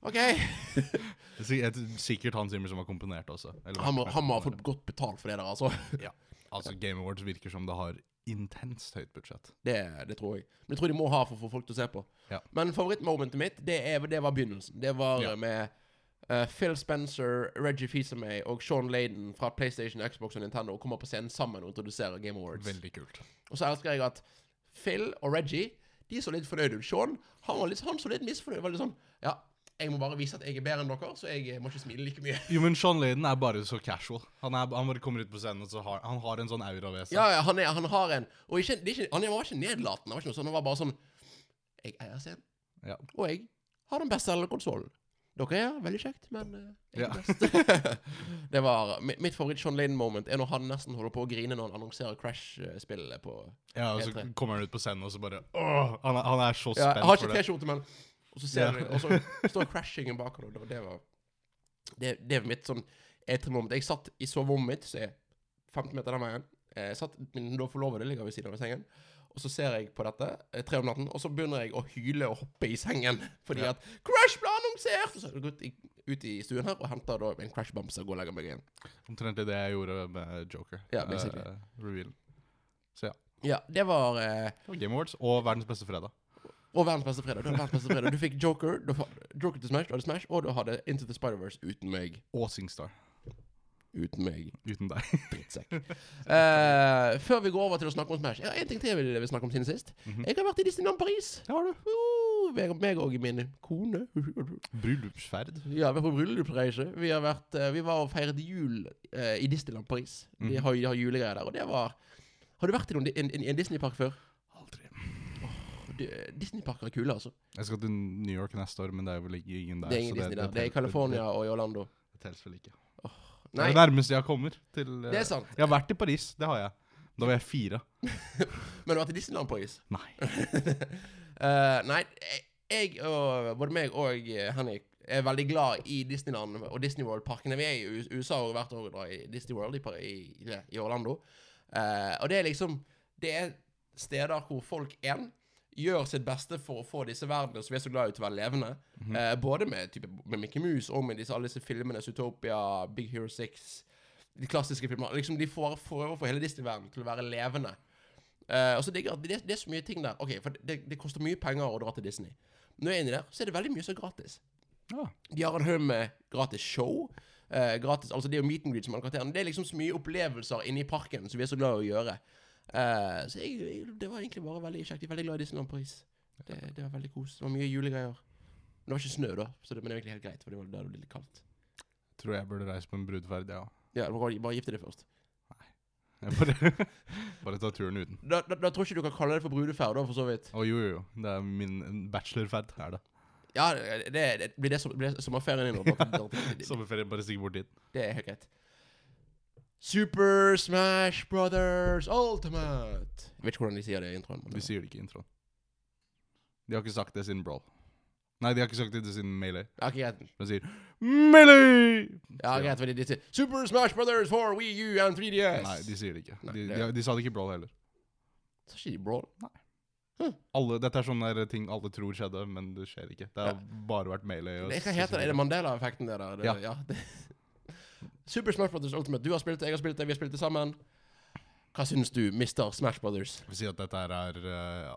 [SPEAKER 1] OK.
[SPEAKER 2] Det er sik- et- Sikkert Hans Zimmer som har komponert også. Eller
[SPEAKER 1] Han må,
[SPEAKER 2] vært med
[SPEAKER 1] han må ha
[SPEAKER 2] på
[SPEAKER 1] fått godt betalt for det der, altså. <laughs>
[SPEAKER 2] det. ja. Altså, Game Awards virker som det har intenst høyt budsjett.
[SPEAKER 1] Det, det tror jeg. Men jeg tror de må ha for å få folk til å se på.
[SPEAKER 2] Ja.
[SPEAKER 1] Men favorittmomentet mitt, det, er, det var begynnelsen. Det var
[SPEAKER 2] Ja.
[SPEAKER 1] eh, med eh, Phil Spencer, Reggie Fils-Aimé og Sean Laden fra PlayStation, Xbox og Nintendo og kommer på scenen sammen og introduserer Game Awards.
[SPEAKER 2] Veldig kult.
[SPEAKER 1] Og så elsker jeg at Phil og Reggie de så litt fornøyd ut. Sean han, var litt, han så litt misfornøyd. Var litt sånn Ja, jeg må bare vise at jeg er bedre enn dere, så jeg eh, må ikke smile like mye.
[SPEAKER 2] Jo, men Sean Laden er bare så casual. Han, er, han bare kommer ut på scenen, og så har han har en sånn aura ved seg.
[SPEAKER 1] Ja, ja, han, er, han har en Og ikke, det er ikke, han var ikke nedlatende. Han var ikke noe sånn, han var bare sånn Jeg eier scenen,
[SPEAKER 2] Ja.
[SPEAKER 1] og jeg har den beste konsollen. Dere er veldig kjekt, men eh, jeg er
[SPEAKER 2] Ja.
[SPEAKER 1] best. <laughs> det var mi- Mitt favoritt-Sean Lane-moment er når han nesten holder på å grine når han annonserer Crash-spillet på
[SPEAKER 2] Ja, og så
[SPEAKER 1] Helt det.
[SPEAKER 2] kommer han ut på scenen, og så bare åh, han, er, han er så
[SPEAKER 1] ja,
[SPEAKER 2] spent
[SPEAKER 1] Jeg har ikke
[SPEAKER 2] for det.
[SPEAKER 1] T-skjorte, men Og så ser
[SPEAKER 2] Ja.
[SPEAKER 1] jeg, og så står crashingen bak ham, og det var Det, det var mitt sånn E3-moment. Jeg satt i soverommet mitt, som er 15 meter den veien. Eh, Jeg satt, min da forlovede ligger ved siden av i sengen. Og så ser jeg på dette eh, tre om natten, og så begynner jeg å hyle og hoppe i sengen <laughs> fordi
[SPEAKER 2] Ja.
[SPEAKER 1] at Crash ble annonsert! Og så har jeg gått i, ut i stuen her og henter da en Crash-bamse og går og legger meg igjen.
[SPEAKER 2] Omtrent det jeg gjorde med Joker.
[SPEAKER 1] Ja, basically.
[SPEAKER 2] eh, revealen. Så ja.
[SPEAKER 1] Ja, det var eh,
[SPEAKER 2] Det var Game Awards og verdens beste fredag.
[SPEAKER 1] Og verdens beste fredag. Du, hadde verdens beste fredag. du fikk Joker, du hadde Joker til Smash, du hadde Smash, og du hadde Into the Spider-Verse uten meg.
[SPEAKER 2] Og Singstar.
[SPEAKER 1] Uten meg.
[SPEAKER 2] Uten deg.
[SPEAKER 1] Drittsekk. Eh, før vi går over til å snakke om Smash, er det én ting til jeg vil, vil snakke om siden sist.
[SPEAKER 2] Mhm.
[SPEAKER 1] Jeg har vært i Disneyland Paris.
[SPEAKER 2] Det har du.
[SPEAKER 1] Uh, meg, meg og min kone.
[SPEAKER 2] Bryllupsferd.
[SPEAKER 1] Ja, vi er på bryllupsreise. Vi, har vært, eh, vi var og feiret jul eh, i Disneyland Paris. De
[SPEAKER 2] Mhm.
[SPEAKER 1] har, de har julegreier der, og det var Har du vært i noen, di- en, en, en Disneypark før?
[SPEAKER 2] Aldri.
[SPEAKER 1] Det- Disneyparker er kule, altså.
[SPEAKER 2] Jeg skal til New York neste år, men det er vel ikke ingen der.
[SPEAKER 1] det er ingen
[SPEAKER 2] så
[SPEAKER 1] Disney der. Det er i
[SPEAKER 2] telt-
[SPEAKER 1] California og i Orlando.
[SPEAKER 2] Det, det telles vel ikke. Det
[SPEAKER 1] Nei,
[SPEAKER 2] er det nærmeste jeg kommer til eh,
[SPEAKER 1] det er sant.
[SPEAKER 2] Jeg har vært i Paris, det har jeg. Da var jeg fire.
[SPEAKER 1] Men du har vært i Disneyland Paris?
[SPEAKER 2] Nei.
[SPEAKER 1] <laughs> Eh, nei, jeg og både meg og eh, Henrik er veldig glad i Disneyland og Disney World-parkene. Vi er i U- USA og hvert år drar i Disney World i, Par- i, i Orlando. Eh, og det er liksom Det er steder hvor folk en gjør sitt beste for å få disse verdenene som vi er så glad i, til å være levende. Eh, både med, type, med Mickey Mouse og med disse, alle disse filmene, Zootopia, Big Hero 6 De klassiske filmene. Liksom De får- prøver å få hele Disney-verdenen til å være levende. Eh, og så digger jeg at det, det er så mye ting der. Ok, for det, det koster mye penger å dra til Disney. Når jeg er inne der, så er det veldig mye som er gratis.
[SPEAKER 2] Ja.
[SPEAKER 1] De har en haug med gratis show. eh, gratis, altså Det er jo meet and greet som er karakterene. Det er liksom så mye opplevelser inne i parken som vi er så glad i å gjøre. Eh, så jeg, jeg, det var egentlig bare veldig kjekt. Jeg er veldig glad i Disneyland Paris. Det, det var veldig kos. Det var mye julegreier. Men det var ikke snø, da, så det, men det var egentlig helt greit. For det var da det ble litt kaldt.
[SPEAKER 2] Tror jeg burde reise på en brudeferd, ja.
[SPEAKER 1] Ja, bare, bare gifte deg først.
[SPEAKER 2] Jeg bare, <laughs> bare ta turen uten.
[SPEAKER 1] Da, da, da tror jeg ikke du kan kalle det for brudeferd, da, for så vidt.
[SPEAKER 2] Å jo, jo, jo. Det er min bachelorferd, er det.
[SPEAKER 1] Ja, det, det, blir det, som- blir det sommerferien din nå?
[SPEAKER 2] <laughs>
[SPEAKER 1] Bare- bare-
[SPEAKER 2] Sommerferie, bare stikk bort dit.
[SPEAKER 1] Det er helt greit. Super Smash Brothers Ultimate. Jeg vet ikke hvordan de sier det i introen.
[SPEAKER 2] De
[SPEAKER 1] Men
[SPEAKER 2] sier det ikke i introen. De har ikke sagt det siden Brawl. Nei, de har ikke sagt det siden Melee.
[SPEAKER 1] ja, ok, greit.
[SPEAKER 2] De sier Melee!
[SPEAKER 1] Ja, greit fordi de sier Super Smash Brothers for Wii U and 3DS.
[SPEAKER 2] Nei, de sier det ikke.
[SPEAKER 1] Nei,
[SPEAKER 2] De,
[SPEAKER 1] det-
[SPEAKER 2] de, de sa det ikke i Brawl heller.
[SPEAKER 1] Sa ikke de Brawl?
[SPEAKER 2] Alle, dette er sånne der ting alle tror skjedde, men det skjer ikke. Det har
[SPEAKER 1] Ja.
[SPEAKER 2] bare vært Melee. og
[SPEAKER 1] Det, hva heter det? Er det Mandela-effekten, det der? Det,
[SPEAKER 2] Ja.
[SPEAKER 1] det. <laughs> Super Smash Brothers Ultimate. Du har spilt det, jeg har spilt det, vi har spilt det sammen. Hva syns du, Mr. Smash Brothers?
[SPEAKER 2] Jeg vil si at dette her er eh, ja,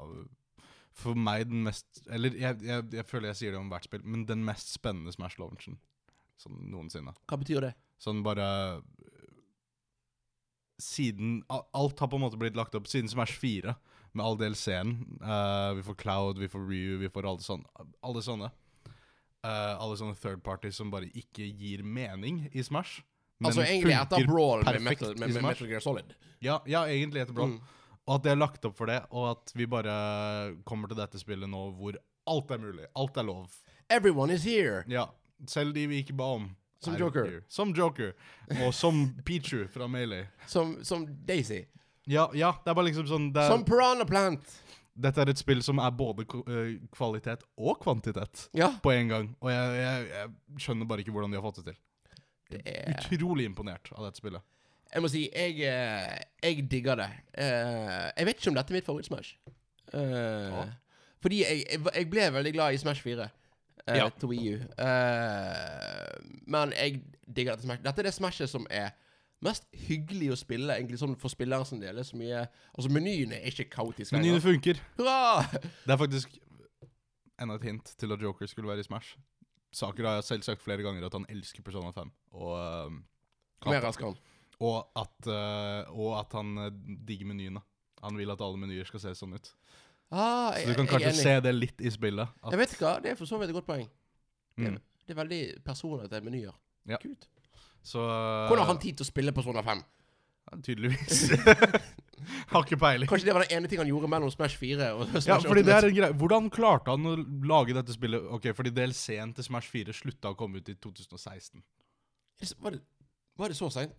[SPEAKER 2] for meg den mest Eller jeg, jeg, jeg føler jeg sier det om hvert spill, men den mest spennende Smash-launchen sånn noensinne.
[SPEAKER 1] Hva betyr det?
[SPEAKER 2] Sånn bare Siden a- Alt har på en måte blitt lagt opp siden Smash 4, med all DLC-en. Eh, vi får Cloud, vi får Ryu, vi får alle sånne. Alle sånne, Eh, alle sånne third parties som bare ikke gir mening i Smash. men
[SPEAKER 1] altså egentlig etter
[SPEAKER 2] funker
[SPEAKER 1] Brawl med
[SPEAKER 2] perfekt
[SPEAKER 1] Metal,
[SPEAKER 2] i
[SPEAKER 1] med, med
[SPEAKER 2] Smash.
[SPEAKER 1] Metal Gear Solid.
[SPEAKER 2] Ja, ja egentlig etter Brawl.
[SPEAKER 1] Mm.
[SPEAKER 2] Og at det er lagt opp for det, og at vi bare kommer til dette spillet nå hvor alt er mulig. Alt er lov.
[SPEAKER 1] Everyone is here.
[SPEAKER 2] Ja. Selv de vi ikke ba om.
[SPEAKER 1] Som
[SPEAKER 2] er
[SPEAKER 1] Joker.
[SPEAKER 2] here. Som Joker. Og som Pichu fra Melee.
[SPEAKER 1] Som, som Daisy.
[SPEAKER 2] Ja, ja, det er bare liksom sånn det er,
[SPEAKER 1] Som Piranha Plant.
[SPEAKER 2] Dette er et spill som er både ko- eh, kvalitet og kvantitet
[SPEAKER 1] Ja.
[SPEAKER 2] på en gang. Og jeg, jeg, jeg skjønner bare ikke hvordan de har fått det til.
[SPEAKER 1] Det er
[SPEAKER 2] Utrolig imponert av dette spillet.
[SPEAKER 1] Jeg må si, jeg, eh, jeg digger det. Eh, jeg vet ikke om dette er mitt favoritt-Smash. Eh, Fordi jeg, jeg, var- jeg ble veldig glad i Smash 4 eh,
[SPEAKER 2] Ja.
[SPEAKER 1] til Wii U. Eh, men jeg digger dette Smash. Dette er det Smashet som er mest hyggelig å spille, egentlig sånn for spilleren sin del. Det er Så mye, altså, menyen er ikke kaotisk
[SPEAKER 2] Menyene
[SPEAKER 1] lenger.
[SPEAKER 2] funker.
[SPEAKER 1] Hurra!
[SPEAKER 2] Det er faktisk enda et hint til at Joker skulle være i Smash. Saker har jeg selv sagt flere ganger at han elsker Persona 5. Og, eh, øhm,
[SPEAKER 1] Mer
[SPEAKER 2] at,
[SPEAKER 1] elsker han.
[SPEAKER 2] og, at, øh, og at han øh, digger menyene. Han vil at alle menyer skal se sånn ut.
[SPEAKER 1] Ah,
[SPEAKER 2] Så
[SPEAKER 1] jeg,
[SPEAKER 2] du kan
[SPEAKER 1] jeg er
[SPEAKER 2] kanskje
[SPEAKER 1] enig.
[SPEAKER 2] se det litt i spillet. At,
[SPEAKER 1] Jeg vet hva, Det er for så vidt et godt poeng.
[SPEAKER 2] mm,
[SPEAKER 1] Det er veldig personete menyer.
[SPEAKER 2] Ja.
[SPEAKER 1] Kult.
[SPEAKER 2] så
[SPEAKER 1] Hvordan har han tid til å spille Persona 5?
[SPEAKER 2] han Tydeligvis. <laughs> har ikke peiling.
[SPEAKER 1] Kanskje det var den ene ting han gjorde mellom Smash 4 og Smash
[SPEAKER 2] Ja, fordi det
[SPEAKER 1] Ultimate.
[SPEAKER 2] er en greie. Hvordan klarte han å lage dette spillet Ok, fordi DLC-en til Smash 4 slutta å komme ut i 2016.
[SPEAKER 1] Var det, var det så seint?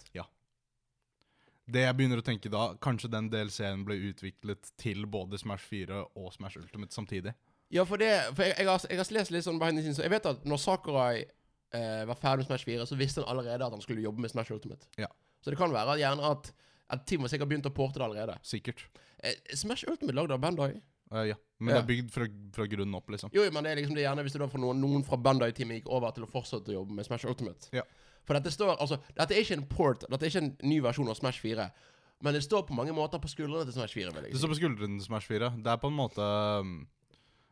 [SPEAKER 2] Det jeg begynner å tenke da, kanskje den DLC-en ble utviklet til både Smash 4 og Smash Ultimate samtidig.
[SPEAKER 1] Ja, for det For jeg, jeg, har, jeg har lest litt sånn behind the scenes, så jeg vet at når Sakurai eh, var ferdig med Smash 4, så visste han allerede at han skulle jobbe med Smash Ultimate.
[SPEAKER 2] Ja.
[SPEAKER 1] Så det kan være at gjerne at at Team har sikkert begynt å porte det allerede.
[SPEAKER 2] Sikkert.
[SPEAKER 1] Eh, Smash Ultimate lagd av Bandai?
[SPEAKER 2] Eh, ja. Men
[SPEAKER 1] Ja.
[SPEAKER 2] det er bygd fra, fra grunnen opp, liksom.
[SPEAKER 1] Jo, jo, men det er liksom det gjerne hvis det da for noen, noen fra Bandai-teamet gikk over til å fortsette å jobbe med Smash Ultimate.
[SPEAKER 2] Ja.
[SPEAKER 1] For dette står Altså, dette er ikke en port, dette er ikke en ny versjon av Smash 4. Men det står på mange måter på skuldrene til Smash 4. vil jeg
[SPEAKER 2] Det
[SPEAKER 1] si.
[SPEAKER 2] står på skuldrene til Smash 4. Det er på en måte um,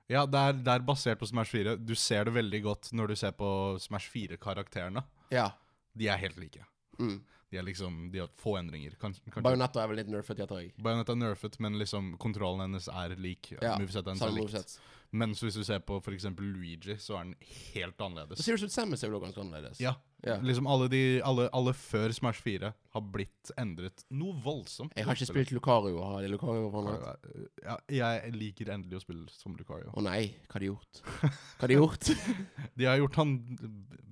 [SPEAKER 2] Ja, det er, det er basert på Smash 4. Du ser det veldig godt når du ser på Smash 4-karakterene.
[SPEAKER 1] Ja.
[SPEAKER 2] De er helt like.
[SPEAKER 1] Mm.
[SPEAKER 2] De er liksom, de har få endringer. Kanskje, kanskje.
[SPEAKER 1] Bajonetta er vel litt nerfet, jeg tror jeg.
[SPEAKER 2] Bajonetta er nerfet, men liksom kontrollen hennes er lik.
[SPEAKER 1] Ja,
[SPEAKER 2] movesettet hennes er
[SPEAKER 1] Samme
[SPEAKER 2] likt.
[SPEAKER 1] moveset.
[SPEAKER 2] Mens hvis du ser på f.eks. Luigi, så er den helt
[SPEAKER 1] Så
[SPEAKER 2] annerledes.
[SPEAKER 1] Serious Ut Samus er vel også ganske annerledes.
[SPEAKER 2] Ja.
[SPEAKER 1] Ja.
[SPEAKER 2] Liksom alle, de, alle, alle før Smash 4 har blitt endret noe voldsomt.
[SPEAKER 1] Jeg har ikke spilt Lucario. Har de Lucario på nett?
[SPEAKER 2] ja, Jeg liker endelig å spille som Lucario.
[SPEAKER 1] Å nei, hva har de gjort? Hva har de
[SPEAKER 2] <laughs>
[SPEAKER 1] gjort?
[SPEAKER 2] De har gjort han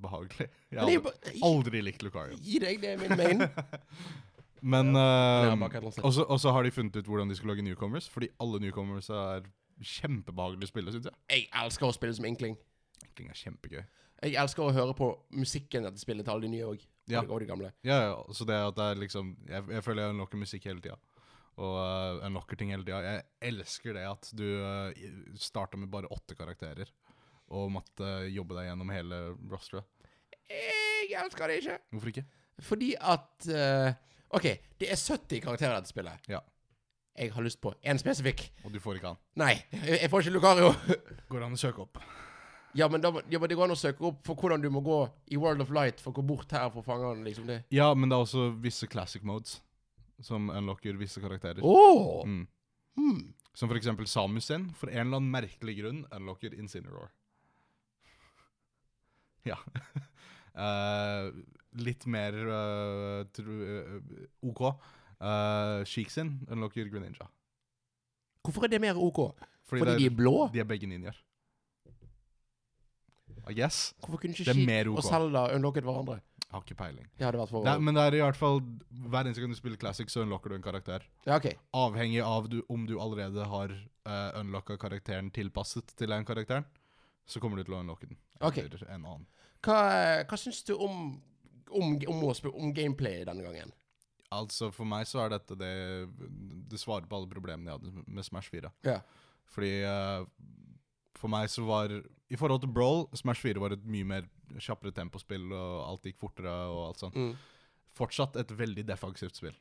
[SPEAKER 2] behagelig. Jeg
[SPEAKER 1] Men det er jo
[SPEAKER 2] har
[SPEAKER 1] bare-
[SPEAKER 2] aldri likt Lucario.
[SPEAKER 1] Gi deg, det er min main.
[SPEAKER 2] Men
[SPEAKER 1] det er
[SPEAKER 2] eh,
[SPEAKER 1] bak et eller annet sted.
[SPEAKER 2] Og så og så har de funnet ut hvordan de skal lage newcomers, fordi alle newcomers er kjempebehagelige å spille, syns jeg.
[SPEAKER 1] Jeg elsker å spille som Inkling.
[SPEAKER 2] Egentlig er kjempegøy.
[SPEAKER 1] Jeg elsker å høre på musikken etter spillet til alle de nye òg.
[SPEAKER 2] Ja.
[SPEAKER 1] Og de gamle.
[SPEAKER 2] Ja, ja, så det at det er liksom Jeg, jeg føler jeg unlocker musikk hele tida. Og uh, unlocker ting hele tida. Jeg elsker det at du uh, starta med bare åtte karakterer. Og måtte eh, jobbe deg gjennom hele rosteret.
[SPEAKER 1] Jeg elsker det ikke.
[SPEAKER 2] Hvorfor ikke?
[SPEAKER 1] Fordi at eh, OK, det er 70 karakterer i dette spillet.
[SPEAKER 2] Ja.
[SPEAKER 1] Jeg har lyst på én spesifikk.
[SPEAKER 2] Og du får ikke han.
[SPEAKER 1] Nei, jeg jeg får ikke Lucario. <laughs>
[SPEAKER 2] Går det an å søke opp?
[SPEAKER 1] ja, men da må, ja, men det går an å søke opp for hvordan du må gå i World of Light for å gå bort her for å fange han, liksom det.
[SPEAKER 2] Ja, men det er også visse classic modes som unlocker visse karakterer.
[SPEAKER 1] Oh!
[SPEAKER 2] Mm.
[SPEAKER 1] Hmm.
[SPEAKER 2] Som for eksempel Samus sin, for en eller annen merkelig grunn, unlocker Incineroar. <laughs> ja. <laughs> Eh, litt mer eh, tru, eh, OK. Uh, Sheik sin unlocker Greninja.
[SPEAKER 1] Hvorfor er det mer OK?
[SPEAKER 2] Fordi,
[SPEAKER 1] Fordi
[SPEAKER 2] det
[SPEAKER 1] de er blå?
[SPEAKER 2] de er begge ninjaer. I guess.
[SPEAKER 1] Hvorfor kunne
[SPEAKER 2] Det
[SPEAKER 1] ikke
[SPEAKER 2] er
[SPEAKER 1] Sheik
[SPEAKER 2] mer OK.
[SPEAKER 1] og Selda unlocket hverandre?
[SPEAKER 2] Jeg har ikke peiling.
[SPEAKER 1] Det hadde vært for
[SPEAKER 2] Det er, men det er i hvert fall hver eneste gang du spiller classic, så unlocker du en karakter.
[SPEAKER 1] Ja, OK.
[SPEAKER 2] avhengig av du, om du allerede har uh, unlocka karakteren tilpasset til den karakteren, så kommer du til å unlocke den.
[SPEAKER 1] Ok.
[SPEAKER 2] Eller en annen.
[SPEAKER 1] Hva, hva syns du om, om, om, å sp- om gameplay denne gangen?
[SPEAKER 2] Altså, for meg så er dette det Det svarer på alle problemene jeg hadde med Smash 4.
[SPEAKER 1] Ja.
[SPEAKER 2] Fordi eh, for meg så var I forhold til Brawl, Smash 4 var et mye mer kjappere tempospill, og alt gikk fortere og alt sånt.
[SPEAKER 1] Mm.
[SPEAKER 2] Fortsatt et veldig defensivt spill.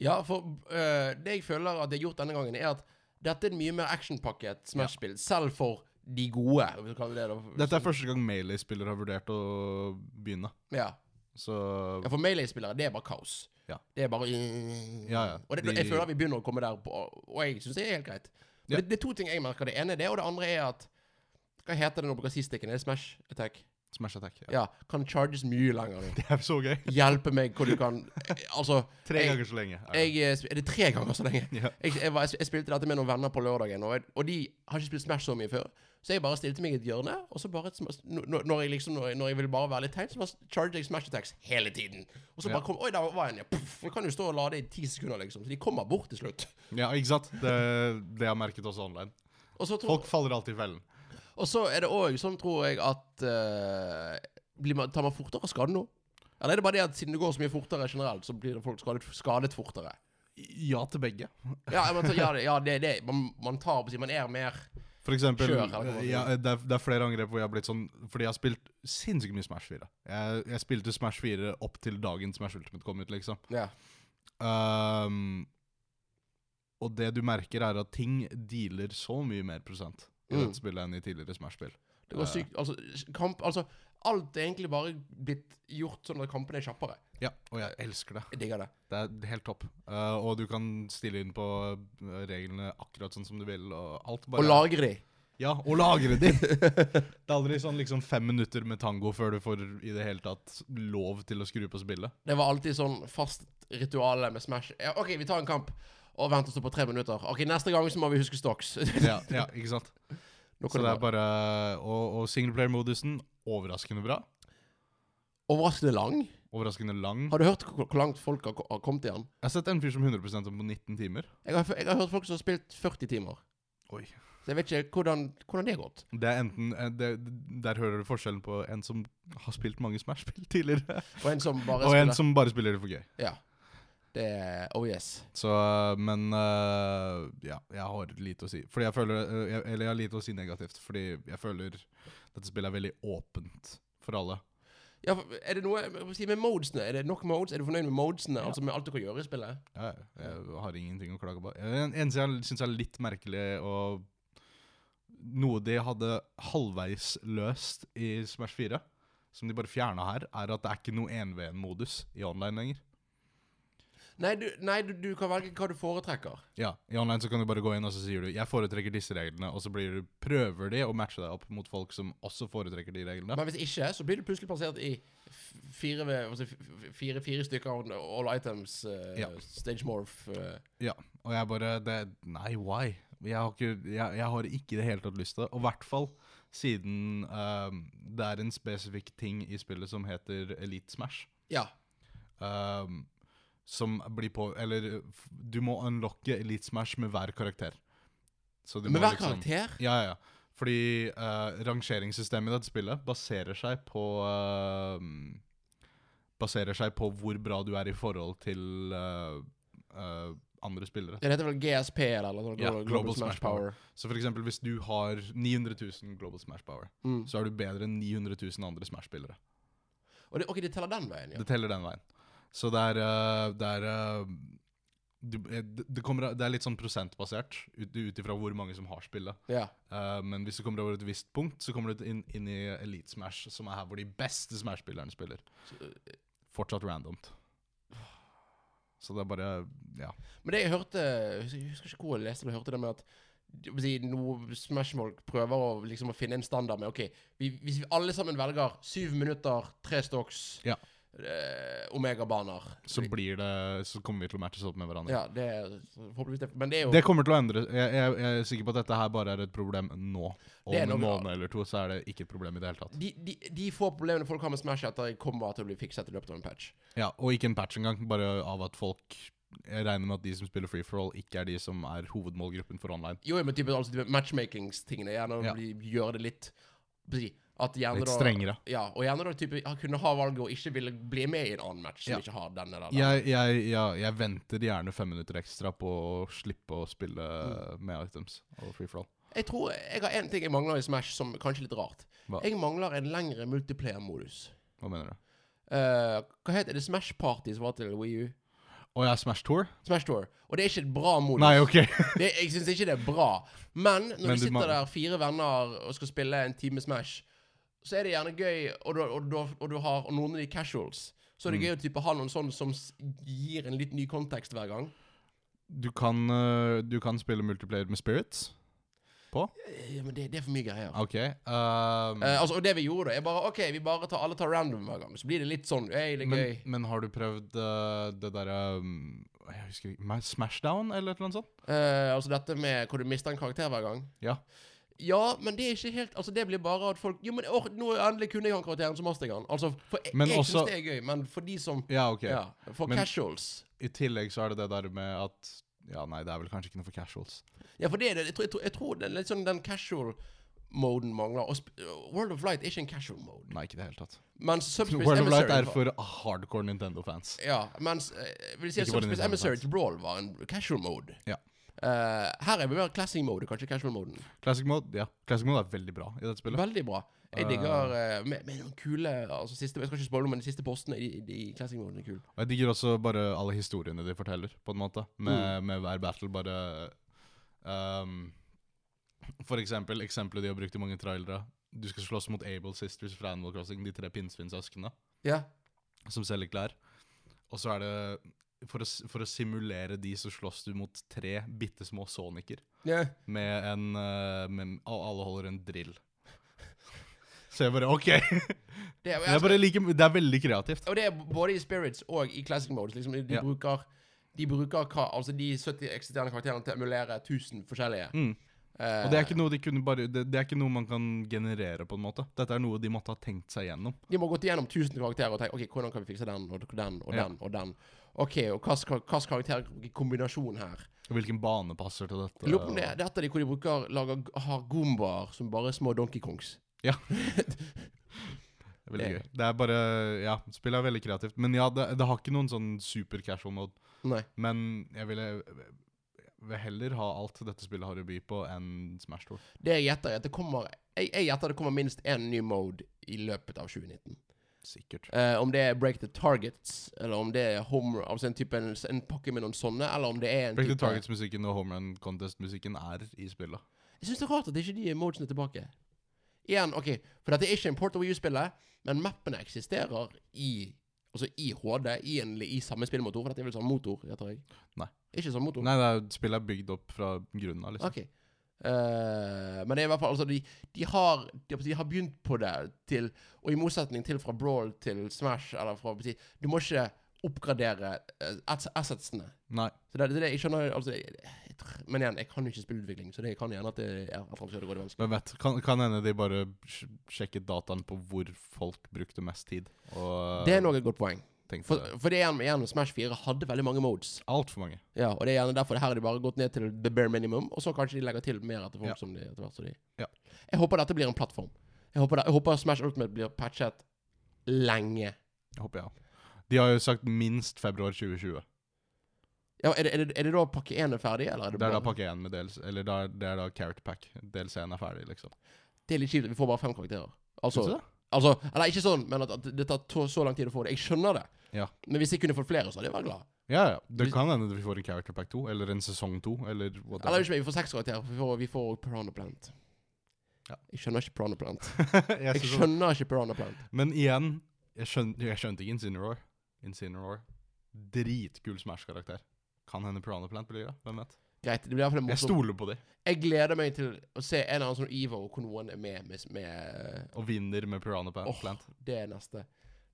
[SPEAKER 1] Ja, for øh, det jeg føler at det er gjort denne gangen, er at dette er et mye mer actionpakket Smash-spill, selv for de gode. Hvis du kaller det det.
[SPEAKER 2] Dette er første gang Melee-spillere har vurdert å begynne,
[SPEAKER 1] Ja.
[SPEAKER 2] så
[SPEAKER 1] ja, for Melee-spillere, det er bare kaos.
[SPEAKER 2] Ja.
[SPEAKER 1] Det er bare
[SPEAKER 2] Ja, ja.
[SPEAKER 1] Og det,
[SPEAKER 2] De-
[SPEAKER 1] jeg føler at vi begynner å komme der, på, og jeg syns det er helt greit. Men
[SPEAKER 2] Ja.
[SPEAKER 1] det, det er to ting jeg merker. Det ene er det, og det andre er at Hva heter det når du bruker stikken? Er det Smash Attack?
[SPEAKER 2] Smash Attack. Ja.
[SPEAKER 1] Ja. Kan charges mye lenger nå.
[SPEAKER 2] <laughs> Det er så gøy!
[SPEAKER 1] Hjelpe meg hvor du kan
[SPEAKER 2] <laughs>
[SPEAKER 1] Altså
[SPEAKER 2] Tre
[SPEAKER 1] jeg-
[SPEAKER 2] ganger så lenge. er det.
[SPEAKER 1] Jeg, eh, sp- er det tre ganger så lenge?
[SPEAKER 2] Ja.
[SPEAKER 1] Jeg, jeg, var, jeg spilte dette med noen venner på lørdagen, og, jeg, og de har ikke spilt Smash så mye før. Så jeg bare stilte meg i et hjørne, og så bare et sma- når, når jeg liksom, når, jeg- når jeg ville bare være litt teit, så bare charger jeg Smash Attacks hele tiden. Og så bare
[SPEAKER 2] Ja.
[SPEAKER 1] kom Oi, der var en, ja. Puff. Jeg kan jo stå og lade i ti sekunder, liksom. Så de kommer bort til slutt.
[SPEAKER 2] Ja, ikke sant? Det, det har jeg merket også online.
[SPEAKER 1] Og så, tror,
[SPEAKER 2] Folk faller alltid i fellen.
[SPEAKER 1] og så er det òg sånn, tror jeg, at eh, blir man, Tar man fortere skade nå? Eller er det bare det at siden det går så mye fortere generelt, så blir det folk skadet, skadet fortere?
[SPEAKER 2] Ja til begge.
[SPEAKER 1] Ja, man tar, ja, det, ja det, det, man, man tar på å si Man er mer
[SPEAKER 2] For eksempel, eh,
[SPEAKER 1] Kjør, eller hva man
[SPEAKER 2] ja, det, er, det er flere angrep hvor jeg har blitt sånn Fordi jeg har spilt sinnssykt mye Smash 4. Jeg, jeg spilte Smash 4 opp til dagen Smash Ultimate kom ut, liksom.
[SPEAKER 1] Ja.
[SPEAKER 2] Ehm, og det du merker, er at ting dealer så mye mer prosent i
[SPEAKER 1] Mm.
[SPEAKER 2] dette spillet enn i tidligere Smash-spill.
[SPEAKER 1] Det går
[SPEAKER 2] Ja.
[SPEAKER 1] sykt Altså, kamp Altså, alt er egentlig bare blitt gjort sånn at kampene er kjappere.
[SPEAKER 2] Ja, og jeg elsker det.
[SPEAKER 1] Jeg digger det.
[SPEAKER 2] Det er helt topp. Eh, og du kan stille inn på eh, reglene akkurat sånn som du vil, og alt bare
[SPEAKER 1] Og
[SPEAKER 2] er-
[SPEAKER 1] lagre de.
[SPEAKER 2] Ja, og lagre din. det er aldri sånn liksom fem minutter med tango før du får i det hele tatt lov til å skru på spillet.
[SPEAKER 1] Det var alltid sånn fast rituale med Smash. Ja, OK, vi tar en kamp. Og vent oss på tre minutter. OK, neste gang så må vi huske stocks. <laughs>
[SPEAKER 2] Ja, ja ikke sant?
[SPEAKER 1] Nå
[SPEAKER 2] Så
[SPEAKER 1] kan
[SPEAKER 2] det
[SPEAKER 1] det
[SPEAKER 2] er
[SPEAKER 1] være
[SPEAKER 2] bare Og, og singleplayer-modusen, overraskende bra.
[SPEAKER 1] overraskende lang.
[SPEAKER 2] Overraskende lang.
[SPEAKER 1] Har du hørt hvor hvor langt folk har ko- har kommet i den?
[SPEAKER 2] Jeg har sett en fyr som 100 om på 19 timer.
[SPEAKER 1] Jeg har, jeg har hørt folk som har spilt 40 timer.
[SPEAKER 2] Oi.
[SPEAKER 1] Så jeg vet ikke hvordan, hvordan det har gått.
[SPEAKER 2] Det er enten eh, det, Der hører du forskjellen på en som har spilt mange Smash-spill tidligere,
[SPEAKER 1] Og en som bare
[SPEAKER 2] <laughs> og en
[SPEAKER 1] spiller-
[SPEAKER 2] som bare spiller det for gøy.
[SPEAKER 1] Ja. Det er Oh yes.
[SPEAKER 2] Så, øh, men øh, ja, jeg har lite å si. Fordi jeg føler, øh, jeg, eller jeg har lite å si negativt, fordi jeg føler dette spillet er veldig åpent for alle.
[SPEAKER 1] Ja, for er det noe jeg må si, med modesene? Er det nok modes? Er du fornøyd med modesene? Altså med alt du kan gjøre i spillet?
[SPEAKER 2] Ja, jeg har ingenting å klage på. Eh, En eneste jeg syns er litt merkelig, og noe de hadde halvveis løst i Smash 4, som de bare fjerna her, er at det er ikke noe 1v1-modus i online lenger.
[SPEAKER 1] Nei, du, nei du, du kan velge hva du foretrekker.
[SPEAKER 2] Ja, I online så kan du bare gå inn og så sier du 'jeg foretrekker disse reglene', og så blir du, prøver de å matche deg opp mot folk som også foretrekker de reglene.
[SPEAKER 1] Men hvis ikke, så blir du plutselig plassert i f- fire, ved- altså f- fire, fire stykker av all items, eh,
[SPEAKER 2] Ja.
[SPEAKER 1] stage morph eh.
[SPEAKER 2] Ja, og jeg bare det, Nei, why? Jeg har, ikke, jeg, jeg har ikke i det hele tatt lyst til det. Og i hvert fall siden ehm, det er en spesifikk ting i spillet som heter Elite Smash.
[SPEAKER 1] Ja.
[SPEAKER 2] ehm, som blir på Eller f- du må unlocke Elite Smash med hver karakter. Så du
[SPEAKER 1] Med
[SPEAKER 2] må
[SPEAKER 1] hver
[SPEAKER 2] liksom-
[SPEAKER 1] karakter?
[SPEAKER 2] Ja, ja, ja. Fordi eh, rangeringssystemet i dette spillet baserer seg på ehm, Baserer seg på hvor bra du er i forhold til eh, eh, andre spillere.
[SPEAKER 1] Det heter vel GSP eller noe sånt?
[SPEAKER 2] Ja,
[SPEAKER 1] Global,
[SPEAKER 2] Global
[SPEAKER 1] Smash,
[SPEAKER 2] Smash
[SPEAKER 1] Power.
[SPEAKER 2] Så for eksempel hvis du har 900 000 Global Smash Power,
[SPEAKER 1] Mm.
[SPEAKER 2] så er du bedre enn 900 000 andre Smash-spillere.
[SPEAKER 1] Og det, ok, det teller den veien, ja.
[SPEAKER 2] Det teller den veien. Så det er, øh, det er øh, du, eh, det, det kommer, av- det er litt sånn prosentbasert, ut, ut ifra hvor mange som har spillet.
[SPEAKER 1] ja.
[SPEAKER 2] Eh, men hvis du kommer over et visst punkt, så kommer du inn, inn i Elite Smash, som er her hvor de beste Smash-spillerne spiller.
[SPEAKER 1] eh,
[SPEAKER 2] Fortsatt randomt. Så det er bare Ja.
[SPEAKER 1] Men det jeg hørte Jeg husker ikke hvor jeg leste det, men jeg hørte det med at jeg vil si, noe Smashmolk prøver å, liksom, å finne en standard med OK, vi, hvis vi alle sammen velger syv minutter, tre stocks,
[SPEAKER 2] Ja.
[SPEAKER 1] eh, omegabaner
[SPEAKER 2] Så blir det Så kommer vi til å matches opp med hverandre.
[SPEAKER 1] Ja, det er Forhåpentligvis det Men det er jo
[SPEAKER 2] Det kommer til å endre jeg, jeg, jeg er sikker på at dette her bare er et problem nå. Om
[SPEAKER 1] Det er
[SPEAKER 2] en
[SPEAKER 1] nok-
[SPEAKER 2] måned eller to så er det ikke et problem i det hele tatt.
[SPEAKER 1] de, de, de få problemene folk har med Smash etter, kommer bare til å bli fikset i løpet av en patch.
[SPEAKER 2] Ja, Og ikke en patch engang, bare av at folk Jeg regner med at de som spiller free for all, ikke er de som er hovedmålgruppen for online.
[SPEAKER 1] Jo, men type, altså, type matchmakingstingene gjerne
[SPEAKER 2] Ja.
[SPEAKER 1] bli, gjør det litt hva skal jeg si, at gjerne
[SPEAKER 2] Litt
[SPEAKER 1] da-
[SPEAKER 2] strengere.
[SPEAKER 1] Ja, og gjerne da type, ja, kunne ha valget og ikke ville bli med i en annen match som
[SPEAKER 2] Ja.
[SPEAKER 1] ikke har denne eller den.
[SPEAKER 2] Jeg, jeg, ja, jeg venter gjerne fem minutter ekstra på å slippe å spille med items og free for all.
[SPEAKER 1] Jeg tror jeg har en ting jeg mangler i Smash som kanskje er litt rart.
[SPEAKER 2] Hva?
[SPEAKER 1] Jeg mangler en lengre multiplayer-modus.
[SPEAKER 2] Hva mener du?
[SPEAKER 1] Eh, hva heter det Smash Party som var til Wii U?
[SPEAKER 2] Å ja, Smash Tour?
[SPEAKER 1] Smash Tour. Og det er ikke et bra modus.
[SPEAKER 2] Nei, OK. <laughs>
[SPEAKER 1] det, jeg syns ikke det er bra. Men når
[SPEAKER 2] Men
[SPEAKER 1] du
[SPEAKER 2] du
[SPEAKER 1] sitter
[SPEAKER 2] mangler-
[SPEAKER 1] der fire venner og skal spille en time Smash, så er det gjerne gøy, og du, og du, og du har og noen av de casuals. Så
[SPEAKER 2] Mm.
[SPEAKER 1] er det gøy å type ha noen sånn som s- gir en litt ny kontekst hver gang.
[SPEAKER 2] Du kan, øh, du kan spille multiplayer med spirits på?
[SPEAKER 1] Eh, Ja, men det, det er for mye greier.
[SPEAKER 2] OK. Um,
[SPEAKER 1] Eh, altså, og det vi gjorde, da, er bare OK, vi bare tar, alle tar random hver gang. Så blir det litt sånn Hei, det er gøy.
[SPEAKER 2] Men, men har du prøvd eh, det derre um, Jeg husker ikke Ma- Smashdown eller et eller annet sånt?
[SPEAKER 1] Eh, altså dette med hvor du mister en karakter hver gang.
[SPEAKER 2] Ja.
[SPEAKER 1] Ja, men det er ikke helt Altså, det blir bare at folk Jo, men åh, nå endelig kunne jeg han karakteren, så master jeg han. Altså, for jeg,
[SPEAKER 2] Men
[SPEAKER 1] jeg
[SPEAKER 2] også-
[SPEAKER 1] syns det er gøy, men for de som
[SPEAKER 2] Ja, ok.
[SPEAKER 1] Ja, for
[SPEAKER 2] Men-
[SPEAKER 1] casuals.
[SPEAKER 2] I tillegg så er det det der med at Ja, nei, det er vel kanskje ikke noe for casuals.
[SPEAKER 1] Ja, for det er det. Jeg tror, jeg tror, jeg tror det er litt sånn den casual-moden mangler. Og sp World of Light er ikke en casual mode.
[SPEAKER 2] Nei, ikke i det hele tatt. <laughs>
[SPEAKER 1] Mens Subspace
[SPEAKER 2] World of Light
[SPEAKER 1] Emissary
[SPEAKER 2] er for hardcore Nintendo-fans.
[SPEAKER 1] Ja, mens eh, vil jeg si at
[SPEAKER 2] Ikke
[SPEAKER 1] Subspace
[SPEAKER 2] bare Nintendo
[SPEAKER 1] Emissary
[SPEAKER 2] Fans.
[SPEAKER 1] til Brawl var en casual mode.
[SPEAKER 2] Ja.
[SPEAKER 1] Eh, her er vi mer classic mode, kanskje casual moden.
[SPEAKER 2] Classic mode ja. Classic mode er veldig bra i dette spillet.
[SPEAKER 1] Veldig bra. Jeg digger eh, med, med noen kule altså siste, Jeg skal ikke spoile, men de siste postene i, i, i classic moden er kule.
[SPEAKER 2] Og jeg digger også bare alle historiene de forteller, på en måte. Med, med hver battle, bare um, For eksempel, eksempelet de har brukt i mange trailere. Du skal slåss mot Able Sisters fra Animal Crossing, de tre pinnsvinsøsknene.
[SPEAKER 1] Ja.
[SPEAKER 2] som selger klær. Og så er det for å, s- for å simulere de, så slåss du mot tre bitte små soniker.
[SPEAKER 1] Ja.
[SPEAKER 2] Med en eh, med, al- Alle holder en drill. Så jeg bare OK!
[SPEAKER 1] Det, og, jeg,
[SPEAKER 2] Jeg bare liker, det er veldig kreativt.
[SPEAKER 1] og det er både i Spirits og i classic modes. Liksom, de,
[SPEAKER 2] Ja.
[SPEAKER 1] bruker, de bruker ka, altså de 70 eksisterende karakterene til å emulere 1000 forskjellige.
[SPEAKER 2] Mm.
[SPEAKER 1] Eh,
[SPEAKER 2] Og det er, ikke noe de kunne bare, det, det er ikke noe man kan generere, på en måte. Dette er noe de måtte ha tenkt seg gjennom.
[SPEAKER 1] De må ha gått igjennom 1000 karakterer og tenkt OK, hvordan kan vi fikse den og den og
[SPEAKER 2] Ja.
[SPEAKER 1] den og den. OK, og hvilken karakterkombinasjon her?
[SPEAKER 2] Og hvilken bane passer til dette.
[SPEAKER 1] Jeg lurer på om det
[SPEAKER 2] og-
[SPEAKER 1] det er et av de hvor de bruker lager, har gombaer som bare er små Donkey Kongs.
[SPEAKER 2] Det er Veldig
[SPEAKER 1] Det-
[SPEAKER 2] gøy. Det er bare Ja, spillet er veldig kreativt. Men ja, det, det har ikke noen sånn super casual mode.
[SPEAKER 1] Nei.
[SPEAKER 2] Men jeg ville vil heller ha alt dette spillet har å by på, enn Smash Tour.
[SPEAKER 1] Det jeg gjetter, er at det kommer Jeg, jeg gjetter det kommer minst én ny mode i løpet av 2019.
[SPEAKER 2] Sikkert.
[SPEAKER 1] Eh, om det er Break the Targets, eller om det er home, altså en, type, en, en pakke med noen sånne, eller om det er en
[SPEAKER 2] Break the
[SPEAKER 1] type
[SPEAKER 2] Targets-musikken og Home Run Contest-musikken er i spillet.
[SPEAKER 1] Jeg syns det er rart at ikke de emojene er tilbake. Igjen, OK, for dette er ikke en Port of U-spillet, men mappene eksisterer i Altså i HD, i, en, i samme spillmotor. Dette er vel samme motor, gjetter jeg?
[SPEAKER 2] Nei.
[SPEAKER 1] Ikke samme motor?
[SPEAKER 2] Nei, det er, spillet er bygd opp fra grunnen av, liksom.
[SPEAKER 1] Ok. Eh, men det er i hvert fall altså, de, de, har, de, de har begynt på det til Og i motsetning til fra Brawl til Smash eller fra Du må ikke oppgradere eh, ass- assetsene.
[SPEAKER 2] Nei.
[SPEAKER 1] Så det, det, er det, jeg skjønner altså, jeg, jeg, tr- Men igjen, jeg kan jo ikke spillutvikling, så det kan gjerne at det er at det går vanskelig.
[SPEAKER 2] Hvem vet. Kan, kan hende de bare sj- sjekket dataen på hvor folk brukte mest tid. Og
[SPEAKER 1] Det er nok et godt poeng.
[SPEAKER 2] tenkte
[SPEAKER 1] For, for det er igjen, igjen Smash 4 hadde veldig mange modes.
[SPEAKER 2] Altfor mange.
[SPEAKER 1] Ja, og det er gjerne derfor her har de bare gått ned til the bare minimum, og så kanskje de legger til mer etter folk
[SPEAKER 2] Ja.
[SPEAKER 1] som de etter hvert som de
[SPEAKER 2] Ja.
[SPEAKER 1] Jeg håper dette blir en plattform. Jeg håper, det, jeg håper Smash Ultimate blir patchet lenge.
[SPEAKER 2] Håper jeg. De har jo sagt minst februar 2020.
[SPEAKER 1] Ja, er det, er det, er det da pakke 1 er ferdig, eller er det
[SPEAKER 2] Det er da
[SPEAKER 1] bare-
[SPEAKER 2] pakke én med dels... Eller da, det er da Carrot Pack. DLC-en er ferdig, liksom.
[SPEAKER 1] Det er litt kjipt, vi får bare fem karakterer. Altså,
[SPEAKER 2] Synes du det?
[SPEAKER 1] altså Eller ikke sånn, men at, at det tar to, så lang tid å få det. Jeg skjønner det.
[SPEAKER 2] Ja.
[SPEAKER 1] Men hvis jeg kunne fått flere, så hadde jeg vært glad.
[SPEAKER 2] Ja, ja. Det
[SPEAKER 1] Hvis-
[SPEAKER 2] kan hende vi får en Character Pack 2, eller en sesong 2, eller
[SPEAKER 1] Eller
[SPEAKER 2] whatever.
[SPEAKER 1] ikke, vi får seks karakterer, for vi får, vi får Piranha Plant.
[SPEAKER 2] Ja.
[SPEAKER 1] Jeg skjønner ikke Piranha Plant.
[SPEAKER 2] Jeg
[SPEAKER 1] <laughs> Jeg
[SPEAKER 2] synes-
[SPEAKER 1] skjønner ikke Piranha Plant.
[SPEAKER 2] Men igjen, jeg, skjøn, jeg skjønte ikke Incineroar. Incineroar. Dritkul Smash-karakter. Kan hende Piranha Plant blir det. Hvem vet?
[SPEAKER 1] Greit, det blir i hvert fall
[SPEAKER 2] Jeg
[SPEAKER 1] morsomt.
[SPEAKER 2] stoler på dem,
[SPEAKER 1] Jeg gleder meg til å se en eller annen sånn Evo hvor noen er med med, med
[SPEAKER 2] og vinner med Piranha Pla-
[SPEAKER 1] Åh,
[SPEAKER 2] Plant.
[SPEAKER 1] det er neste.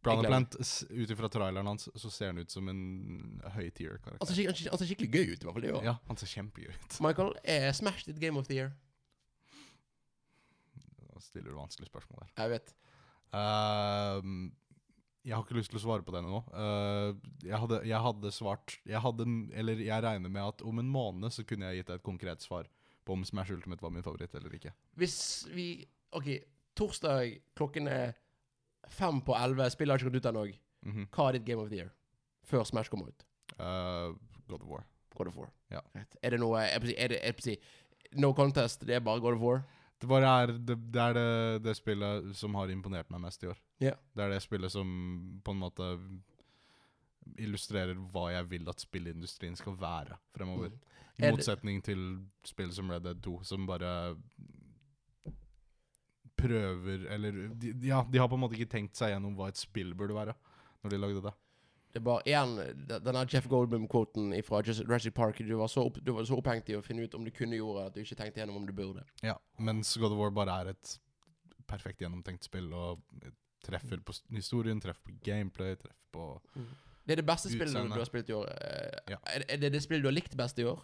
[SPEAKER 2] Piranha
[SPEAKER 1] gleder meg.
[SPEAKER 2] Plant, s- ut ifra traileren hans, så ser han ut som en høy
[SPEAKER 1] Han
[SPEAKER 2] tier-karakter.
[SPEAKER 1] ser, skik- han ser- han ser Altså, skikkelig gøy ut, i hvert fall. Det, gjør han.
[SPEAKER 2] Ja, han ser kjempegøy ut.
[SPEAKER 1] Michael, er Smash ditt game of the year?
[SPEAKER 2] Da Stiller du vanskelige spørsmål der.
[SPEAKER 1] Jeg vet.
[SPEAKER 2] Ehm, jeg har ikke lyst til å svare på det ennå. Eh, jeg, hadde, jeg hadde svart jeg hadde, Eller jeg regner med at om en måned så kunne jeg gitt deg et konkret svar på om Smash Ultimate var min favoritt eller ikke.
[SPEAKER 1] Hvis vi OK, torsdag klokken er fem på elleve, spillet har ikke gått ut ennå.
[SPEAKER 2] Mhm.
[SPEAKER 1] Hva er ditt game of the year? Før Smash kommer ut.
[SPEAKER 2] Eh, God of War.
[SPEAKER 1] God of War.
[SPEAKER 2] Ja.
[SPEAKER 1] Greit. Er det noe jeg, vil si- er det, jeg, vil si, No contest, det er bare God of War?
[SPEAKER 2] Det bare er det, det, er det, det spillet som har imponert meg mest i år.
[SPEAKER 1] Ja.
[SPEAKER 2] Det er det spillet som på en måte illustrerer hva jeg vil at spillindustrien skal være fremover.
[SPEAKER 1] Mm.
[SPEAKER 2] I
[SPEAKER 1] Er det-
[SPEAKER 2] motsetning til spill som Red Dead 2, som bare prøver Eller de, ja, de har på en måte ikke tenkt seg gjennom hva et spill burde være, når de lagde det.
[SPEAKER 1] Det er bare igjen de- denne Jeff Goldblum-kvoten fra Jurassic Park. Du var, så opp, du var så opphengt i å finne ut om du kunne gjøre at du ikke tenkte gjennom om du burde.
[SPEAKER 2] Ja, Mens God of War bare er et perfekt gjennomtenkt spill og treffer på s- historien, treffer på gameplay, treffer på
[SPEAKER 1] Det er det beste spillet du,
[SPEAKER 2] Utseende.
[SPEAKER 1] du har spilt i år. Eh,
[SPEAKER 2] Ja.
[SPEAKER 1] Er, er det det spillet du har likt best i år?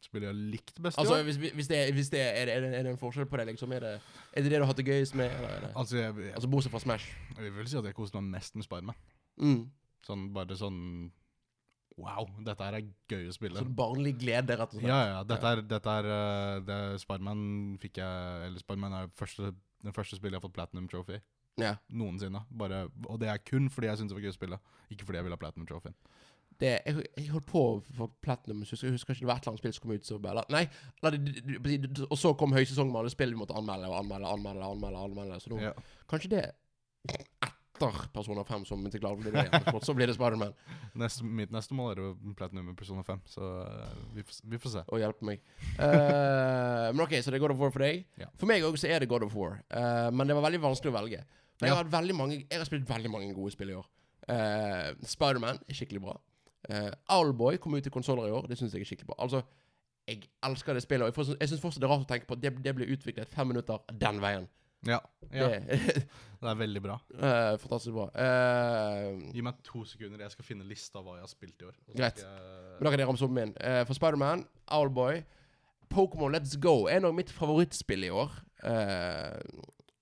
[SPEAKER 2] Spillet jeg har likt best i
[SPEAKER 1] Altså,
[SPEAKER 2] år.
[SPEAKER 1] hvis, hvis det, er- hvis det er, er, det, er det- er det en forskjell på det, liksom? Er det er det, det du har hatt det gøyest med? Eller er det?
[SPEAKER 2] Altså, jeg, jeg,
[SPEAKER 1] Altså, bortsett fra Smash.
[SPEAKER 2] jeg vil si at jeg koste meg mest med Spiderman.
[SPEAKER 1] Mm.
[SPEAKER 2] Sånn, bare sånn Wow, dette her er gøy å spille.
[SPEAKER 1] Sånn barnlig glede, rett og slett.
[SPEAKER 2] Ja, ja. Dette er, dette er eh, det Spiderman fikk jeg Eller Spiderman er første, den første spillet jeg har fått Platinum Trophy
[SPEAKER 1] Ja.
[SPEAKER 2] noensinne. Bare, og det er kun fordi jeg syntes det var gøy å spille, ikke fordi jeg ville ha Platinum Trophy.
[SPEAKER 1] Det, jeg, jeg holdt på å få platinum, så jeg husker ikke det var et eller annet spill som kom ut som bare Nei, eller, det- det- det- og så kom høysesongen med alle spill vi måtte anmelde og anmelde anmelde. anmelde, anmelde så nå
[SPEAKER 2] Ja.
[SPEAKER 1] Kanskje det etter Persona 5 som ikke klarer å bli det igjen. Så blir det Spiderman.
[SPEAKER 2] Neste, mitt neste mål er jo Platinum i Persona 5, så eh, vi, får, s- vi får se.
[SPEAKER 1] Å hjelpe meg. Eh, men OK, så det er God of War for deg.
[SPEAKER 2] Ja.
[SPEAKER 1] For meg òg så er det God of War. Eh, men det var veldig vanskelig å velge. For jeg,
[SPEAKER 2] Ja.
[SPEAKER 1] har hatt veldig mange, jeg har spilt veldig mange gode spill i år. Eh, Spiderman er skikkelig bra. Uh, Owlboy kom ut i konsoller i år. Det syns jeg er skikkelig bra. Altså, jeg elsker det spillet. Og jeg, får- jeg syns fortsatt det er rart å tenke på at det, det ble utviklet fem minutter den veien.
[SPEAKER 2] Ja, ja.
[SPEAKER 1] Det,
[SPEAKER 2] Det er veldig bra.
[SPEAKER 1] <laughs> eh, fantastisk bra. Eh,
[SPEAKER 2] Gi meg to sekunder, jeg skal finne lista av hva jeg har spilt i år. og så
[SPEAKER 1] Greit.
[SPEAKER 2] skal jeg-
[SPEAKER 1] Men da kan jeg ramse opp min. Eh, for Spiderman, Owlboy, Pokémon Let's Go er nok mitt favorittspill i år. Eh,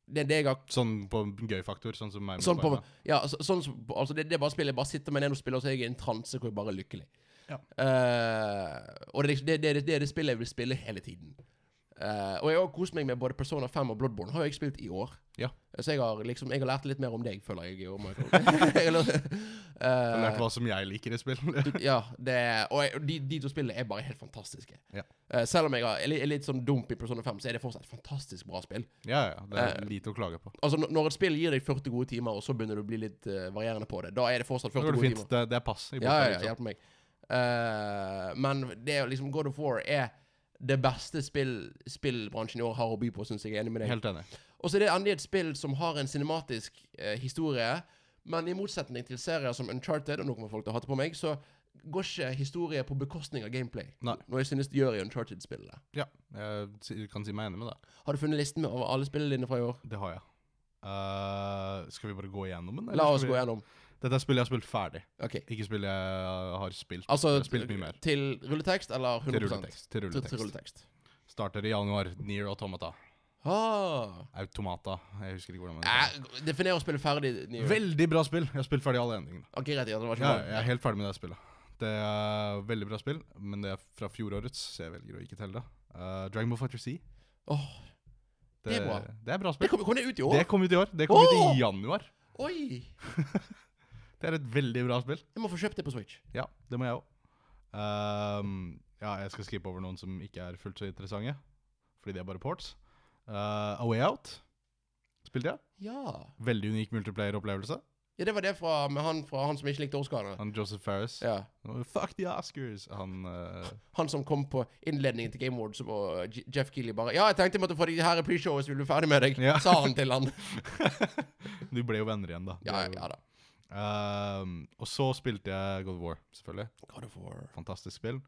[SPEAKER 1] det er det jeg har
[SPEAKER 2] Sånn på gøy faktor, sånn som meg med
[SPEAKER 1] Sånn på,
[SPEAKER 2] Spiderman.
[SPEAKER 1] ja, så, sånn, som- altså det, det er bare spill jeg bare sitter med ned og spiller, og så er jeg i en transe hvor jeg bare er lykkelig.
[SPEAKER 2] Ja.
[SPEAKER 1] Eh, og det, er liksom- det, det, er det, det er det spillet jeg vil spille hele tiden. Eh, og jeg har kost meg med både Persona 5 og Bloodborne. Har jo jeg spilt i år.
[SPEAKER 2] Ja.
[SPEAKER 1] Så jeg har liksom Jeg har lært litt mer om deg, føler jeg, i år,
[SPEAKER 2] <laughs>
[SPEAKER 1] Michael. Jeg har lært-
[SPEAKER 2] Jeg har lært
[SPEAKER 1] Eh,
[SPEAKER 2] hva som jeg liker i spill. <laughs>
[SPEAKER 1] du- ja, det Og jeg, de, de to spillene er bare helt fantastiske.
[SPEAKER 2] Ja.
[SPEAKER 1] Eh, selv om jeg har, er li- er litt sånn dump i Persona 5, så er det fortsatt et fantastisk bra spill.
[SPEAKER 2] ja, ja. Det
[SPEAKER 1] Eh,
[SPEAKER 2] er lite å klage på.
[SPEAKER 1] Altså, når- når et spill gir deg 40 gode timer, og så begynner du å bli litt eh, varierende på det, da er det fortsatt
[SPEAKER 2] Det
[SPEAKER 1] 40
[SPEAKER 2] går
[SPEAKER 1] gode
[SPEAKER 2] det
[SPEAKER 1] timer.
[SPEAKER 2] fint. Det, det er pass. i boka,
[SPEAKER 1] Ja, ja, ja,
[SPEAKER 2] liksom.
[SPEAKER 1] hjelp meg. Eh, men det er jo liksom God of War er det beste spill, spillbransjen i år har å by på, syns jeg. Jeg er Enig med deg.
[SPEAKER 2] Helt enig.
[SPEAKER 1] Og så er det endelig et spill som har en cinematisk eh, historie, men i motsetning til serier som Uncharted, og nå kommer folk til å hate på meg, så går ikke historie på bekostning av gameplay.
[SPEAKER 2] Nei.
[SPEAKER 1] Noe jeg synes det gjør i Uncharted-spillene.
[SPEAKER 2] Ja, jeg si- kan si meg enig med det.
[SPEAKER 1] Har du funnet listen med over alle spillene dine fra i år?
[SPEAKER 2] Det har jeg. Eh, skal vi bare gå igjennom den? eller
[SPEAKER 1] La
[SPEAKER 2] skal
[SPEAKER 1] oss
[SPEAKER 2] vi-
[SPEAKER 1] gå gjennom.
[SPEAKER 2] Dette er spill jeg har spilt ferdig.
[SPEAKER 1] Ok.
[SPEAKER 2] Ikke spill jeg har spilt.
[SPEAKER 1] Altså
[SPEAKER 2] jeg har spilt mye mer.
[SPEAKER 1] til rulletekst eller 100
[SPEAKER 2] Til rulletekst. Til
[SPEAKER 1] Til, til
[SPEAKER 2] rulletekst.
[SPEAKER 1] rulletekst.
[SPEAKER 2] Starter i januar. Near Automata.
[SPEAKER 1] Ah.
[SPEAKER 2] Automata. Jeg husker ikke hvordan den heter.
[SPEAKER 1] Eh, definer å spille ferdig. Nio.
[SPEAKER 2] Veldig bra spill. Jeg har spilt ferdig alle endingene.
[SPEAKER 1] Ok, greit. Ja, det var
[SPEAKER 2] Ja,
[SPEAKER 1] ikke
[SPEAKER 2] jeg er helt ferdig med det spillet. Det er veldig bra spill, men det er fra fjorårets, så jeg velger å ikke telle det. Eh, Dragon Ball Fighter C.
[SPEAKER 1] Åh, det er bra.
[SPEAKER 2] Det er bra
[SPEAKER 1] det
[SPEAKER 2] spill.
[SPEAKER 1] kom, kom det ut i år?
[SPEAKER 2] Det kom ut i år. Det kom ut
[SPEAKER 1] Åh!
[SPEAKER 2] i januar.
[SPEAKER 1] Oi!
[SPEAKER 2] Det er et veldig bra spill.
[SPEAKER 1] Jeg må få kjøpt det på Switch.
[SPEAKER 2] Ja, det må jeg òg. ja, jeg skal skippe over noen som ikke er fullt så interessante, fordi det er bare ports. Eh, A Way Out spilte jeg.
[SPEAKER 1] Ja.
[SPEAKER 2] Veldig unik multiplayer-opplevelse.
[SPEAKER 1] Ja, det var det fra, med han, fra han som ikke likte Oscarene.
[SPEAKER 2] Han Joseph Farris.
[SPEAKER 1] Ja.
[SPEAKER 2] Fuck the Oscars!
[SPEAKER 1] <laughs>
[SPEAKER 2] Han eh, <laughs>
[SPEAKER 1] Han som kom på innledningen til Game Awards, og J- Jeff Keeley bare Ja, jeg tenkte jeg måtte få deg her i pre-showet, så vi blir ferdig med deg,
[SPEAKER 2] Ja.
[SPEAKER 1] sa han
[SPEAKER 2] <laughs>
[SPEAKER 1] til han.
[SPEAKER 2] Du ble jo venner igjen, da.
[SPEAKER 1] Ja,
[SPEAKER 2] Det er jo-
[SPEAKER 1] ja da.
[SPEAKER 2] Ehm, og så spilte jeg God of War, selvfølgelig.
[SPEAKER 1] God of War.
[SPEAKER 2] Fantastisk spill.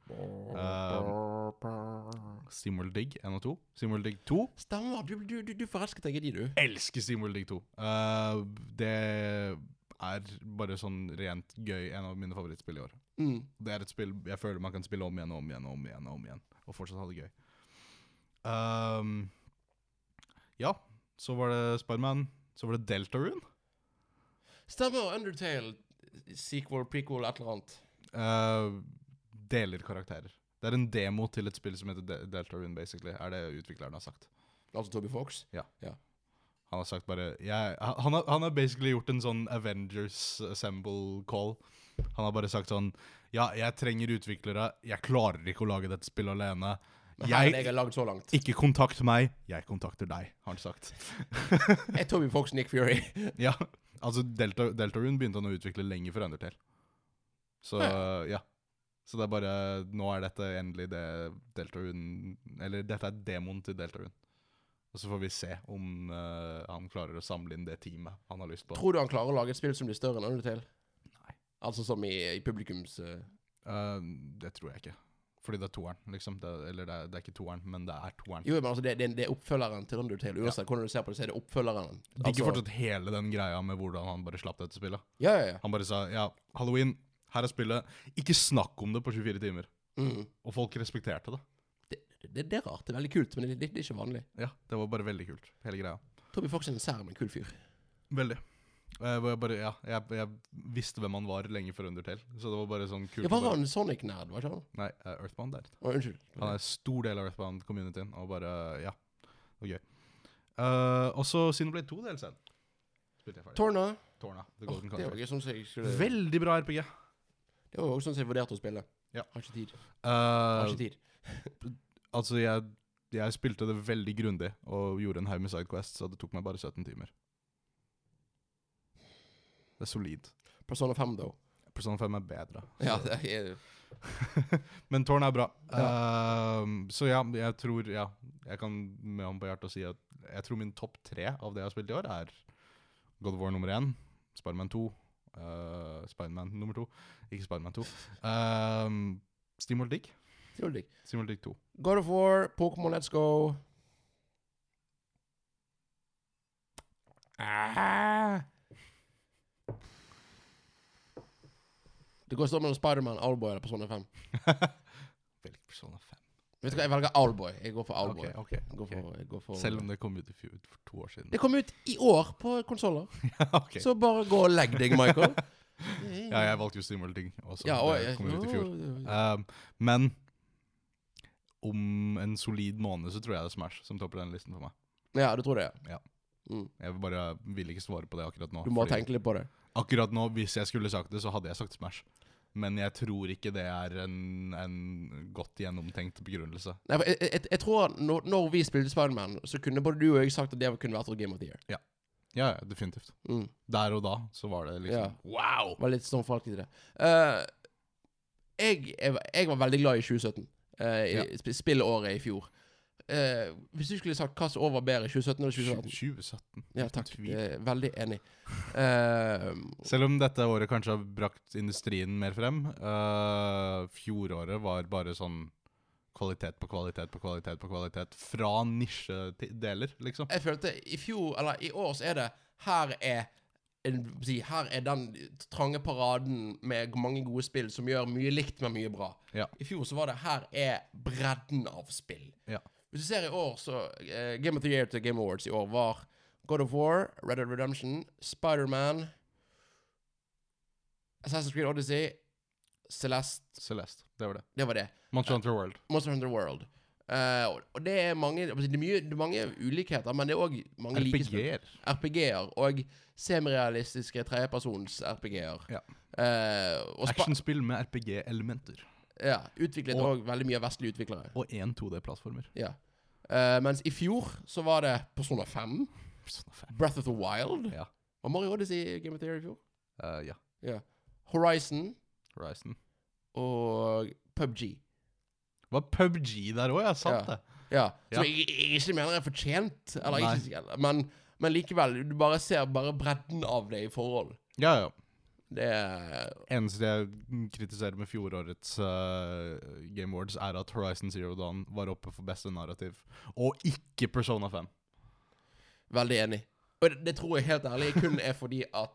[SPEAKER 2] Um. Steamworld Dig 1 og 2. Steamworld Dig 2.
[SPEAKER 1] Stemmer. Du, du, du, du forelsket deg i de, du.
[SPEAKER 2] Elsker Steamworld Dig 2. Eh, det er bare sånn rent gøy en av mine favorittspill i år.
[SPEAKER 1] Mm.
[SPEAKER 2] Det er et spill jeg føler man kan spille om igjen og om igjen og om igjen og om igjen og fortsatt ha det gøy. Ehm, ja, så var det Spiderman. Så var det Deltarune.
[SPEAKER 1] Stemmer. Undertale, sequel, prequel, et eller annet.
[SPEAKER 2] Eh, deler karakterer. Det er en demo til et spill som heter De Deltarune, basically, er det utvikleren har sagt.
[SPEAKER 1] Altså Toby Fox.
[SPEAKER 2] Han har sagt bare jeg, han, har, han har basically gjort en sånn Avengers Assemble call. Han har bare sagt sånn Ja, jeg trenger utviklere. Jeg klarer ikke å lage dette spillet alene.
[SPEAKER 1] Men her er det
[SPEAKER 2] Jeg,
[SPEAKER 1] jeg har lagd så langt.
[SPEAKER 2] ikke kontakt meg. Jeg kontakter deg, har han sagt. <laughs>
[SPEAKER 1] Er Toby Fox Nick Fury?
[SPEAKER 2] ja, altså Delta, Deltarune begynte han å utvikle lenge før Undertale. Så ja. Så det er bare Nå er dette endelig det Deltarune Eller dette er demoen til Deltarune. Og så får vi se om eh, han klarer å samle inn det teamet han har lyst på.
[SPEAKER 1] Tror du han klarer å lage et spill som blir større enn Undertale?
[SPEAKER 2] Nei.
[SPEAKER 1] Altså som i, i publikums eh,
[SPEAKER 2] Eh, det tror jeg ikke. Fordi det er toeren, liksom. Det, eller det er, det er ikke toeren, men det er toeren.
[SPEAKER 1] Jo, men altså, det, det, det er oppfølgeren til Undertale. Uansett hvordan du ser på det, så er det oppfølgeren. Altså,
[SPEAKER 2] Digger fortsatt hele den greia med hvordan han bare slapp dette spillet.
[SPEAKER 1] Ja, ja, ja.
[SPEAKER 2] Han bare sa ja, halloween, her er spillet. Ikke snakk om det på 24 timer.
[SPEAKER 1] Mm.
[SPEAKER 2] Og folk respekterte det.
[SPEAKER 1] Det, det, det er rart. Det er veldig kult, men det, det, det er ikke vanlig.
[SPEAKER 2] Ja, Det var bare veldig kult, hele greia.
[SPEAKER 1] Toby Fox er en sær, men kul fyr.
[SPEAKER 2] Veldig. Eh, hvor jeg bare, ja, jeg, jeg visste hvem han var lenge før Undertale. Så det var bare sånn kult.
[SPEAKER 1] Ja,
[SPEAKER 2] å
[SPEAKER 1] var
[SPEAKER 2] bare-
[SPEAKER 1] han Sonic-nerd, var ikke han?
[SPEAKER 2] Nei, eh, Earthbound der.
[SPEAKER 1] Å, unnskyld.
[SPEAKER 2] Han er en stor del av Earthbound-communityen, og bare, ja, det var gøy. Eh, og så Sinoblade 2 DLC-en. Spilte jeg ferdig.
[SPEAKER 1] Torna.
[SPEAKER 2] Tårna. The
[SPEAKER 1] Åh,
[SPEAKER 2] Golden
[SPEAKER 1] det var
[SPEAKER 2] Country.
[SPEAKER 1] ikke sånn som jeg skulle
[SPEAKER 2] Veldig bra RPG.
[SPEAKER 1] Det var jo også sånn som jeg vurderte å spille.
[SPEAKER 2] Ja.
[SPEAKER 1] Har ikke tid.
[SPEAKER 2] Eh,
[SPEAKER 1] Har ikke tid.
[SPEAKER 2] altså, jeg, jeg spilte det veldig grundig og gjorde en haug med sidequests, så det tok meg bare 17 timer. Det er solid.
[SPEAKER 1] Persona 5, though.
[SPEAKER 2] Persona 5 er bedre.
[SPEAKER 1] Ja, det er
[SPEAKER 2] Men tårn er bra. Eh, så ja, jeg tror ja, Jeg kan med hånden på hjertet si at jeg tror min topp tre av det jeg har spilt i år, er God of War nummer én, Spiderman 2 uh, Spiderman nummer to. Ikke Spiderman 2. Uh, Steamworld Dig.
[SPEAKER 1] det var digg.
[SPEAKER 2] Steamworld Dig 2.
[SPEAKER 1] God of War, Pokémon Let's Go. Ah. Det går sånn mellom Spiderman, Owlboy eller Persona 5.
[SPEAKER 2] Velg Persona 5.
[SPEAKER 1] Vet du hva, Jeg velger Owlboy. Jeg går for Owlboy.
[SPEAKER 2] Ok, ok,
[SPEAKER 1] Jeg går
[SPEAKER 2] ok.
[SPEAKER 1] for, jeg går for,
[SPEAKER 2] Selv om det kom ut i fjor, for to år
[SPEAKER 1] <laughs>
[SPEAKER 2] siden.
[SPEAKER 1] Det kom ut i år på konsoller,
[SPEAKER 2] Ok. <laughs>
[SPEAKER 1] så bare gå og legg deg, Michael.
[SPEAKER 2] Ja, jeg valgte jo Steamworld Dig også.
[SPEAKER 1] Ja, og,
[SPEAKER 2] det kom ut i fjor.
[SPEAKER 1] Åh,
[SPEAKER 2] Um, men Ehm, om en solid måned så tror jeg det er Smash som topper den listen for meg.
[SPEAKER 1] Ja, du tror det?
[SPEAKER 2] Ja.
[SPEAKER 1] Mm.
[SPEAKER 2] Jeg bare vil ikke svare på det akkurat nå.
[SPEAKER 1] Du må
[SPEAKER 2] fordi
[SPEAKER 1] tenke litt på det.
[SPEAKER 2] Akkurat nå, hvis jeg skulle sagt det, så hadde jeg sagt Smash. Men jeg tror ikke det er en, en godt gjennomtenkt begrunnelse.
[SPEAKER 1] Nei, for jeg, jeg, jeg tror når, når vi spilte Spiderman, så kunne både du og jeg sagt at det kunne vært vårt Game of the Year.
[SPEAKER 2] Ja, ja, definitivt.
[SPEAKER 1] Mm.
[SPEAKER 2] Der og da så var det liksom
[SPEAKER 1] Ja.
[SPEAKER 2] Wow!
[SPEAKER 1] Var litt sånn folk i det. Eh, jeg, jeg, var- jeg var veldig glad i 2017. eh, i,
[SPEAKER 2] Ja.
[SPEAKER 1] sp- Spillåret i fjor. Eh, hvis du skulle sagt hva som var bedre, 2017 eller 2018
[SPEAKER 2] 2017.
[SPEAKER 1] Ja, takk.
[SPEAKER 2] tvil.
[SPEAKER 1] Eh, veldig enig. Eh,
[SPEAKER 2] Selv om dette året kanskje har brakt industrien mer frem, øh, fjoråret var bare sånn kvalitet på kvalitet på kvalitet på kvalitet fra nisjedeler, liksom.
[SPEAKER 1] jeg følte i fjor, eller i år, så er det Her er en, hva skal jeg si, her er den trange paraden med mange gode spill som gjør mye likt, men mye bra.
[SPEAKER 2] Ja.
[SPEAKER 1] I fjor så var det Her er bredden av spill.
[SPEAKER 2] Ja.
[SPEAKER 1] Hvis du ser i år, så eh, Game of the Year til Game Awards i år var God of War, Red Dead Redemption, Spiderman Assassin's Creed Odyssey, Celeste
[SPEAKER 2] Celeste, det var det.
[SPEAKER 1] Det var det.
[SPEAKER 2] Monster Hunter World.
[SPEAKER 1] Monster Hunter World. Eh, og- og det er mange Det er, mye, det er mange ulikheter, men det er òg mange like spill.
[SPEAKER 2] RPG-er.
[SPEAKER 1] RPG-er og semirealistiske tredjepersons RPG-er.
[SPEAKER 2] Ja.
[SPEAKER 1] Eh, og spa-
[SPEAKER 2] Actionspill med RPG-elementer.
[SPEAKER 1] ja, utviklet
[SPEAKER 2] Og-
[SPEAKER 1] òg veldig mye av vestlige utviklere.
[SPEAKER 2] Og én 2D-plattformer.
[SPEAKER 1] Ja. Eh, mens i fjor så var det Persona 5,
[SPEAKER 2] Sånn fan.
[SPEAKER 1] Breath of the Wild
[SPEAKER 2] Ja.
[SPEAKER 1] Var Mario Odyssey i Game of the Year i fjor?
[SPEAKER 2] Eh, ja.
[SPEAKER 1] Horizon
[SPEAKER 2] Horizon.
[SPEAKER 1] og PubG.
[SPEAKER 2] Var PubG der òg, ja. Sant
[SPEAKER 1] Ja.
[SPEAKER 2] det.
[SPEAKER 1] Ja. Som
[SPEAKER 2] Ja.
[SPEAKER 1] jeg, jeg ikke mener er fortjent, eller
[SPEAKER 2] Nei.
[SPEAKER 1] ikke, men, men likevel. Du bare ser bare bredden av det i forhold.
[SPEAKER 2] Ja, ja.
[SPEAKER 1] Det er
[SPEAKER 2] Eneste jeg kritiserer med fjorårets eh, Game Awards, er at Horizon Zero Dawn var oppe for beste narrativ, og ikke Persona 5.
[SPEAKER 1] Veldig enig. Og det, det tror jeg helt ærlig kun er fordi at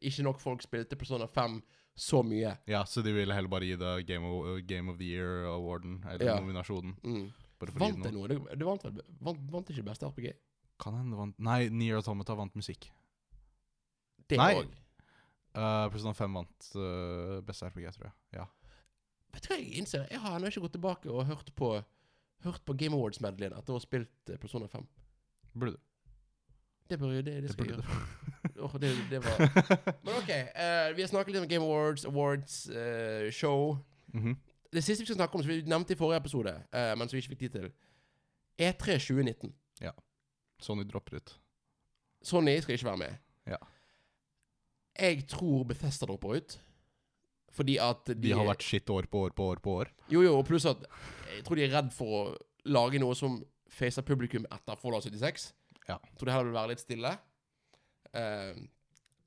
[SPEAKER 1] ikke nok folk spilte Persona 5 så mye.
[SPEAKER 2] Ja, så de ville heller bare gi det Game of, Game of the Year-awarden, eller
[SPEAKER 1] Ja.
[SPEAKER 2] nominasjonen.
[SPEAKER 1] Mm.
[SPEAKER 2] Bare for å gi
[SPEAKER 1] Vant
[SPEAKER 2] det
[SPEAKER 1] jeg
[SPEAKER 2] noe.
[SPEAKER 1] noe? Du, du vant, vel- vant, vant ikke beste RPG?
[SPEAKER 2] Kan hende det vant Nei, Nier Automata vant musikk.
[SPEAKER 1] Det
[SPEAKER 2] Nei.
[SPEAKER 1] òg.
[SPEAKER 2] Eh, Persona 5 vant eh, beste RPG, tror jeg. Ja.
[SPEAKER 1] Vet du hva jeg innser? Jeg har ennå ikke gått tilbake og hørt på, hørt på Game Awards-medleyen etter å ha spilt eh, Persona 5.
[SPEAKER 2] Burde du.
[SPEAKER 1] Det bør jo det, det
[SPEAKER 2] Det
[SPEAKER 1] skal jeg
[SPEAKER 2] burde
[SPEAKER 1] gjøre.
[SPEAKER 2] du.
[SPEAKER 1] Åh, det, det var
[SPEAKER 2] <laughs>
[SPEAKER 1] Men OK, eh, vi har snakket litt om Game Awards, awards, eh, show.
[SPEAKER 2] Mhm.
[SPEAKER 1] Det siste vi skal snakke om, som vi nevnte i forrige episode, eh, men som vi ikke fikk tid til, E E3 2019.
[SPEAKER 2] Sony dropper ut.
[SPEAKER 1] Sony skal ikke være med.
[SPEAKER 2] Ja.
[SPEAKER 1] Jeg tror Bethesda dropper ut. Fordi at de,
[SPEAKER 2] De har vært skitt år på år på år på år.
[SPEAKER 1] Jo, jo, og pluss at jeg tror de er redd for å lage noe som facer publikum etter Fallout 76.
[SPEAKER 2] Ja.
[SPEAKER 1] Jeg tror det heller vil være litt stille. Eh,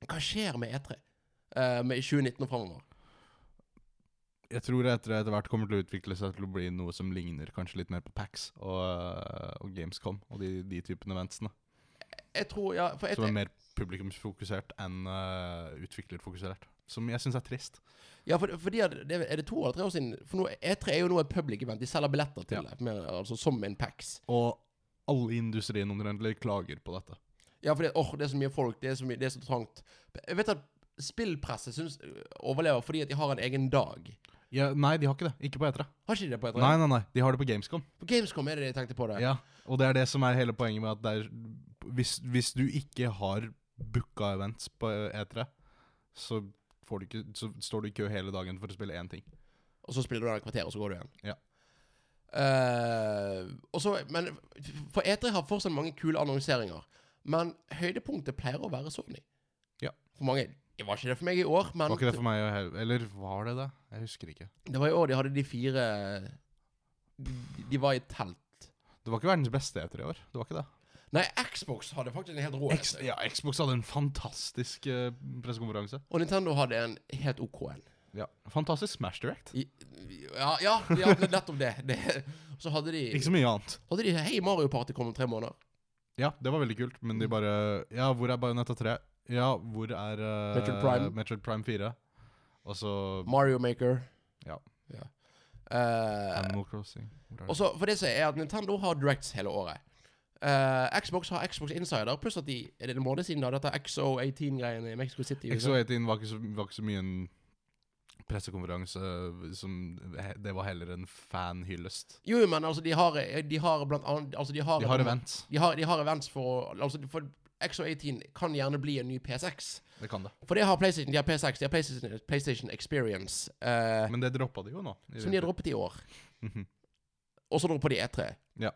[SPEAKER 1] hva skjer med E3 eh, med i 2019 og framover?
[SPEAKER 2] Jeg tror etter etter hvert kommer til å utvikle seg til å bli noe som ligner kanskje litt mer på Pax og, eh, og Gamescom og de, de typene eventsene.
[SPEAKER 1] Jeg tror, ja, for E
[SPEAKER 2] Som
[SPEAKER 1] E3,
[SPEAKER 2] er mer publikumsfokusert enn eh, utviklerfokusert. Som jeg syns er trist.
[SPEAKER 1] ja, for, fordi at det, Er det to eller tre år siden? For nå, E3 er jo nå et public event. De selger billetter til
[SPEAKER 2] Ja.
[SPEAKER 1] det, mer, altså som en PAX.
[SPEAKER 2] Og alle i industrien omtrentlig klager på dette.
[SPEAKER 1] Ja, fordi åh, det er så mye folk, det er så, mye, det er så trangt. Jeg vet at spillpresset synes, øh, overlever fordi at de har en egen dag.
[SPEAKER 2] Ja, nei, de har ikke det. Ikke på E3.
[SPEAKER 1] Har ikke de det på E3?
[SPEAKER 2] Nei, nei, nei. De har det på Gamescom.
[SPEAKER 1] På Gamescom er det jeg tenkte på det.
[SPEAKER 2] Ja, Og det er det som er hele poenget med at det er Hvis, hvis du ikke har booka events på E3, så, får du ikke, så står du i kø hele dagen for å spille én ting.
[SPEAKER 1] Og så spiller du den et kvarter, og så går du igjen.
[SPEAKER 2] Ja.
[SPEAKER 1] Eh, og så, men For E3 har fortsatt mange kule annonseringer. Men høydepunktet pleier å være Sony.
[SPEAKER 2] Ja.
[SPEAKER 1] For mange Det var ikke det for meg i år, men
[SPEAKER 2] Var ikke det for meg å he- Eller var det det? Jeg husker ikke.
[SPEAKER 1] det var i år de hadde de fire De, de var i telt.
[SPEAKER 2] Det var ikke verdens beste E3 i år. Det var ikke det.
[SPEAKER 1] Nei, Xbox hadde faktisk en helt rå
[SPEAKER 2] X, ja, Xbox hadde en fantastisk eh, pressekonferanse.
[SPEAKER 1] Og Nintendo hadde en helt OK en.
[SPEAKER 2] Ja. Fantastisk Smash Direct.
[SPEAKER 1] I- Ja, ja, de hadde nettopp det. det. Og så hadde de,
[SPEAKER 2] Ikke så mye annet.
[SPEAKER 1] hadde de Hei, Mario Party kom om tre måneder.
[SPEAKER 2] Ja, det var veldig kult, men de bare Ja, hvor er Bayonetta 3? Ja, hvor er eh,
[SPEAKER 1] Metroid Prime.
[SPEAKER 2] Metroid Prime 4? Og så
[SPEAKER 1] Mario Maker.
[SPEAKER 2] Ja.
[SPEAKER 1] Eh,
[SPEAKER 2] Animal Crossing. Hvor er
[SPEAKER 1] og
[SPEAKER 2] det?
[SPEAKER 1] så, for det som er at Nintendo har Directs hele året. Eh, Xbox har Xbox Insider, pluss at de Er det en måned siden da dette XO18-greiene i Mexico City? sånn? i USA?
[SPEAKER 2] XO18 var ikke, så, var ikke så mye en pressekonferanse eh, som Det var heller en fanhyllest.
[SPEAKER 1] Jo, men altså, de har, de har blant annet altså, de, har
[SPEAKER 2] De har event.
[SPEAKER 1] De har, de har events for å- Altså, for XO18 kan gjerne bli en ny P6.
[SPEAKER 2] Det kan det.
[SPEAKER 1] For det har PlayStation. De har P6. De har PlayStation, PlayStation Experience, eh,
[SPEAKER 2] Men det droppa de jo nå. i
[SPEAKER 1] som de har
[SPEAKER 2] vinter.
[SPEAKER 1] droppet i år.
[SPEAKER 2] Mhm.
[SPEAKER 1] Og så dropper de E3.
[SPEAKER 2] Ja.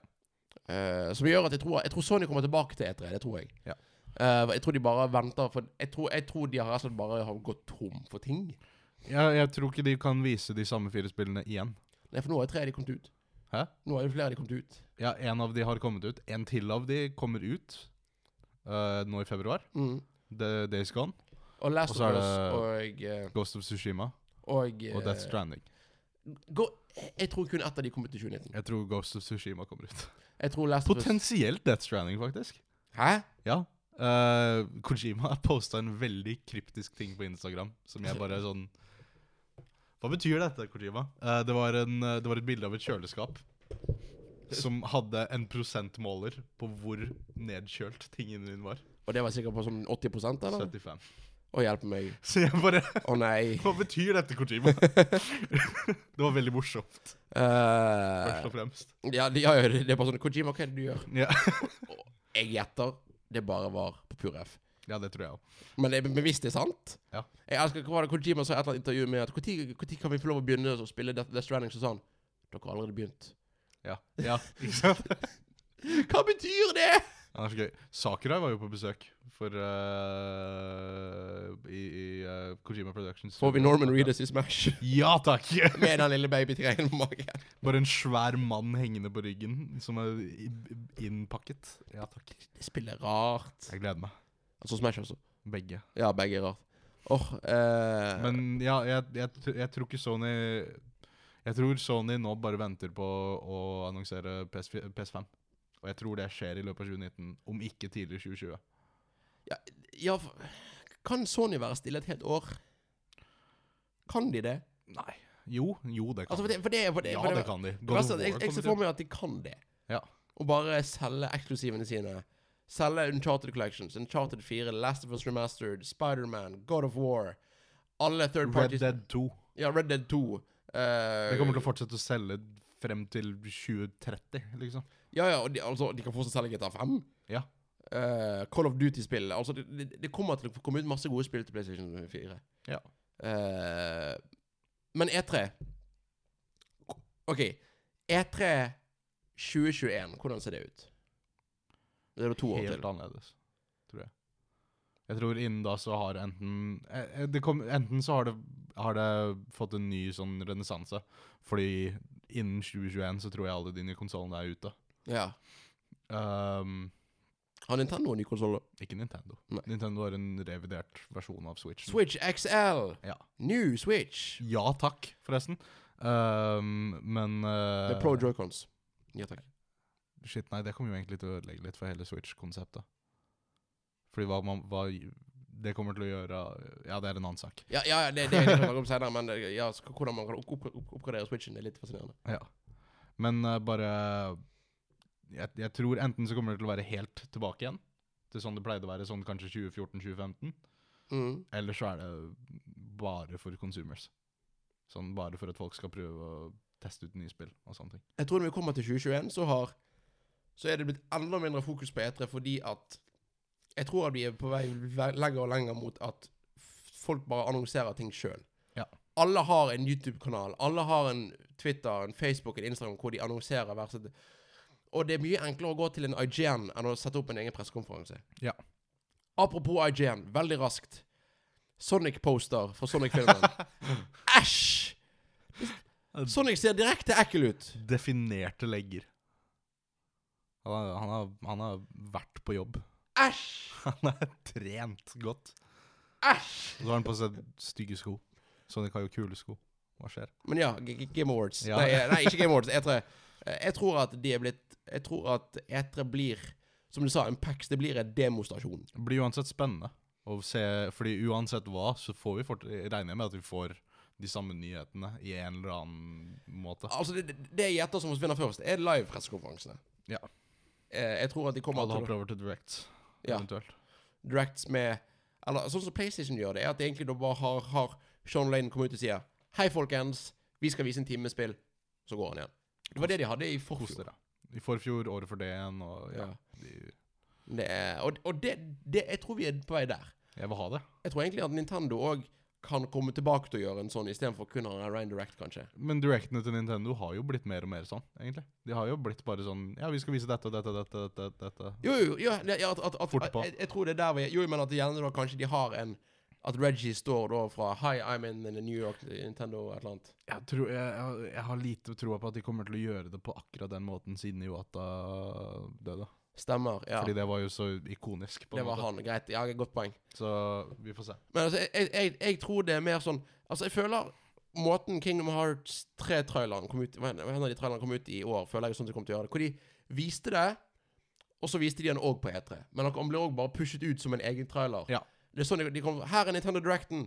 [SPEAKER 1] Eh, som gjør at jeg tror, jeg tror Sony kommer tilbake til E3. Det tror jeg.
[SPEAKER 2] Ja.
[SPEAKER 1] Eh, jeg tror de bare venter for Jeg tror, jeg tror de har rett og slett bare har gått tom for ting.
[SPEAKER 2] Jeg, jeg tror ikke de kan vise de samme fire spillene igjen.
[SPEAKER 1] Nei, for nå er E tre av de kommet ut.
[SPEAKER 2] Hæ?
[SPEAKER 1] Nå er det flere av de kommet ut.
[SPEAKER 2] Ja, en av de har kommet ut. En til av de kommer ut eh, nå i februar.
[SPEAKER 1] Mm.
[SPEAKER 2] The Days Gone,
[SPEAKER 1] Og Last
[SPEAKER 2] Og
[SPEAKER 1] of
[SPEAKER 2] så er
[SPEAKER 1] Us
[SPEAKER 2] det-
[SPEAKER 1] og eh,
[SPEAKER 2] Ghost of Tsushima
[SPEAKER 1] Og,
[SPEAKER 2] og Death
[SPEAKER 1] eh,
[SPEAKER 2] Stranding.
[SPEAKER 1] gå, Jeg tror kun ett av de kom ut i 2019.
[SPEAKER 2] Jeg tror Ghost of Tsushima kommer ut.
[SPEAKER 1] Jeg tror Last of Us
[SPEAKER 2] Potensielt Death Stranding, faktisk.
[SPEAKER 1] Hæ?
[SPEAKER 2] Ja. Eh, Kojima har posta en veldig kryptisk ting på Instagram som jeg bare er sånn Hva betyr dette, Kojima? Eh, det, var en, eh, det var et bilde av et kjøleskap som hadde en prosentmåler på hvor nedkjølt tingen din var.
[SPEAKER 1] Og det var sikkert på sånn 80 eller?
[SPEAKER 2] 75.
[SPEAKER 1] Å hjelpe meg.
[SPEAKER 2] Så jeg bare <laughs>
[SPEAKER 1] Å nei.
[SPEAKER 2] Hva betyr dette, Kojima? det var veldig morsomt, først
[SPEAKER 1] Eh,
[SPEAKER 2] og fremst.
[SPEAKER 1] ja, de- ja, ja, det er bare sånn Kojima, hva er det du gjør?
[SPEAKER 2] Ja,
[SPEAKER 1] Jeg gjetter det bare var på pur F.
[SPEAKER 2] ja det tror jeg òg.
[SPEAKER 1] Men, det- men hvis det er sant
[SPEAKER 2] Ja.
[SPEAKER 1] Jeg elsker hva var det Kojima sa i et eller annet intervju med at Når kan vi få lov å begynne å spille Death, Death Stranding? Så sa han Dere har allerede begynt. <laughs>
[SPEAKER 2] Ja. ja. Ikke sant?
[SPEAKER 1] Hva betyr det?!
[SPEAKER 2] Han er så gøy. Sakurai var jo på besøk for eh, i, i eh, Kojima Productions.
[SPEAKER 1] Får vi Norman Reedus i Smash?
[SPEAKER 2] Ja takk!
[SPEAKER 1] <laughs>
[SPEAKER 2] <laughs>
[SPEAKER 1] Med den lille babytreinen på magen.
[SPEAKER 2] Bare en svær mann hengende på ryggen som er i- innpakket. Ja takk.
[SPEAKER 1] Det spiller rart.
[SPEAKER 2] Jeg gleder meg.
[SPEAKER 1] Altså Smash, altså.
[SPEAKER 2] Begge.
[SPEAKER 1] Ja, begge er rart. Åh, eh,
[SPEAKER 2] Men ja, jeg, jeg, tr- jeg tror ikke Sony Jeg tror Sony nå bare venter på å annonsere PS, PS5. Og jeg tror det skjer i løpet av 2019, om ikke tidlig 2020.
[SPEAKER 1] Ja, for- kan Sony være stille et helt år? Kan de det?
[SPEAKER 2] Nei. Jo, jo, det kan
[SPEAKER 1] Altså, for det, for det, for det,
[SPEAKER 2] de.
[SPEAKER 1] for
[SPEAKER 2] Ja, det kan de.
[SPEAKER 1] Det
[SPEAKER 2] God of
[SPEAKER 1] verste er at altså,
[SPEAKER 2] War
[SPEAKER 1] jeg, jeg
[SPEAKER 2] kommer
[SPEAKER 1] ser
[SPEAKER 2] til-
[SPEAKER 1] for meg at de kan det.
[SPEAKER 2] Ja.
[SPEAKER 1] Og bare selge eksklusivene sine. Selge Uncharted Collections, Uncharted 4, Last of Us Remastered, Spiderman, God of War. Alle third
[SPEAKER 2] Red
[SPEAKER 1] parties.
[SPEAKER 2] Dead 2.
[SPEAKER 1] Ja, Red Dead 2. eh,
[SPEAKER 2] Det kommer til å fortsette å selge frem til 2030, liksom.
[SPEAKER 1] Ja, ja, og de, altså, de kan fortsatt selge GTA 5.
[SPEAKER 2] Ja.
[SPEAKER 1] Eh, Call of Duty-spill. Altså, det, det- det kommer til å komme ut masse gode spill til PlayStation 4.
[SPEAKER 2] Ja.
[SPEAKER 1] Eh, men E3 OK. E E3 2021, hvordan ser det ut? Det er det to år
[SPEAKER 2] Helt
[SPEAKER 1] til.
[SPEAKER 2] annerledes, tror jeg. Jeg tror innen da så har enten eh, eh, det kom, Enten så har det, har det fått en ny sånn renessanse, fordi innen 2021 så tror jeg alle de nye konsollene er ute.
[SPEAKER 1] Ja.
[SPEAKER 2] Ehm,
[SPEAKER 1] Har Nintendo en ny konsoll?
[SPEAKER 2] ikke Nintendo.
[SPEAKER 1] Nei.
[SPEAKER 2] Nintendo har en revidert versjon av Switch.
[SPEAKER 1] Switch XL!
[SPEAKER 2] Ja.
[SPEAKER 1] New Switch!
[SPEAKER 2] ja takk, forresten. Ehm, men eh,
[SPEAKER 1] Med pro joycons. Ja takk.
[SPEAKER 2] Shit, nei, det kommer jo egentlig til å ødelegge litt for hele Switch-konseptet. Fordi hva man hva det kommer til å gjøre Ja, det er en annen sak.
[SPEAKER 1] Ja, ja ja, det, det kan vi snakke om senere, men eh, ja, så hvordan man kan opp, opp, opp, oppgradere Switchen, det er litt fascinerende.
[SPEAKER 2] Ja. Men eh, bare jeg, jeg tror enten så kommer det til å være helt tilbake igjen, til sånn det pleide å være sånn kanskje 2014-2015,
[SPEAKER 1] Mm.
[SPEAKER 2] eller så er det bare for consumers. Sånn bare for at folk skal prøve å teste ut nye spill og sånne ting.
[SPEAKER 1] Jeg tror når vi kommer til 2021, så har Så er det blitt enda mindre fokus på E3 fordi at Jeg tror at vi er på vei ve- lenger og lenger mot at f- folk bare annonserer ting sjøl.
[SPEAKER 2] Ja.
[SPEAKER 1] Alle har en YouTube-kanal, alle har en Twitter, en Facebook, en Instagram hvor de annonserer hver sitt Og det er mye enklere å gå til en IGN enn å sette opp en egen pressekonferanse.
[SPEAKER 2] Ja.
[SPEAKER 1] Apropos IGN, veldig raskt. Sonic-poster for
[SPEAKER 2] <laughs>
[SPEAKER 1] Sonic-filmen. Æsj! Sonic ser direkte ekkel ut.
[SPEAKER 2] Definerte legger. Han har, han har, han har vært på jobb. <laughs>
[SPEAKER 1] Æsj!
[SPEAKER 2] Han er trent godt.
[SPEAKER 1] Æsj!
[SPEAKER 2] Og så har han på seg stygge sko. Sonic har jo kule sko. Hva skjer?
[SPEAKER 1] Men ja, G- G- Game Awards.
[SPEAKER 2] Ja.
[SPEAKER 1] Nei, eh, nei, ikke Game Awards. E3. Eh, Jeg tror at de er blitt Jeg tror at E3 blir, som du sa, en PAX. Det blir en demostasjon.
[SPEAKER 2] Det blir uansett spennende å se, fordi uansett hva, så får vi fort, regner jeg med at vi får de samme nyhetene i en eller annen måte.
[SPEAKER 1] Altså, det, det- det jeg gjetter som forsvinner først, er live-pressekonferansene.
[SPEAKER 2] Ja.
[SPEAKER 1] Eh, Jeg tror at de kommer
[SPEAKER 2] Alle
[SPEAKER 1] til
[SPEAKER 2] hopper over til Direct,
[SPEAKER 1] Ja.
[SPEAKER 2] eventuelt.
[SPEAKER 1] å directs med Eller sånn som PlayStation gjør det, er at de egentlig da bare har, har Sean Lane kommet ut og sier Hei, folkens. Vi skal vise en time med spill. Så går han igjen. Det var det de hadde i
[SPEAKER 2] Kos
[SPEAKER 1] forfjor.
[SPEAKER 2] dere. I forfjor, året for det igjen, og ja.
[SPEAKER 1] Ja.
[SPEAKER 2] De,
[SPEAKER 1] Det er, og og det, det, jeg tror vi er på vei der.
[SPEAKER 2] jeg vil ha det.
[SPEAKER 1] Jeg tror egentlig at Nintendo òg kan komme tilbake til å gjøre en sånn, istedenfor kun å ha en Rain Direct, kanskje.
[SPEAKER 2] Men directene til Nintendo har jo blitt mer og mer sånn, egentlig. De har jo blitt bare sånn Ja, vi skal vise dette, dette, dette, dette. dette.
[SPEAKER 1] Jo, jo, jo det, ja, at, at, at,
[SPEAKER 2] Fort på.
[SPEAKER 1] jeg, jeg tror det er der vi er. Jo, men at gjerne da kanskje de har en At Reggie står da fra Hi, I'm in the New York Nintendo et eller annet.
[SPEAKER 2] Jeg, tror, jeg, jeg, jeg har lite troa på at de kommer til å gjøre det på akkurat den måten siden Iwata døde.
[SPEAKER 1] Stemmer. Ja.
[SPEAKER 2] Fordi det var jo så ikonisk. på
[SPEAKER 1] Det
[SPEAKER 2] en
[SPEAKER 1] var
[SPEAKER 2] måte.
[SPEAKER 1] han. Greit. Ja, godt poeng.
[SPEAKER 2] Så vi får se.
[SPEAKER 1] Men altså, jeg, jeg, jeg tror det er mer sånn Altså, jeg føler måten Kingdom Hearts 3-traileren kom ut hva hender- Hva hender de traileren kom ut i år, føler jeg sånn at de kom til å gjøre det. Hvor de viste det, og så viste de den òg på E3. Men han ble òg bare pushet ut som en egen trailer.
[SPEAKER 2] Ja.
[SPEAKER 1] Det er sånn de, de kom, Her er Nintendo Directen.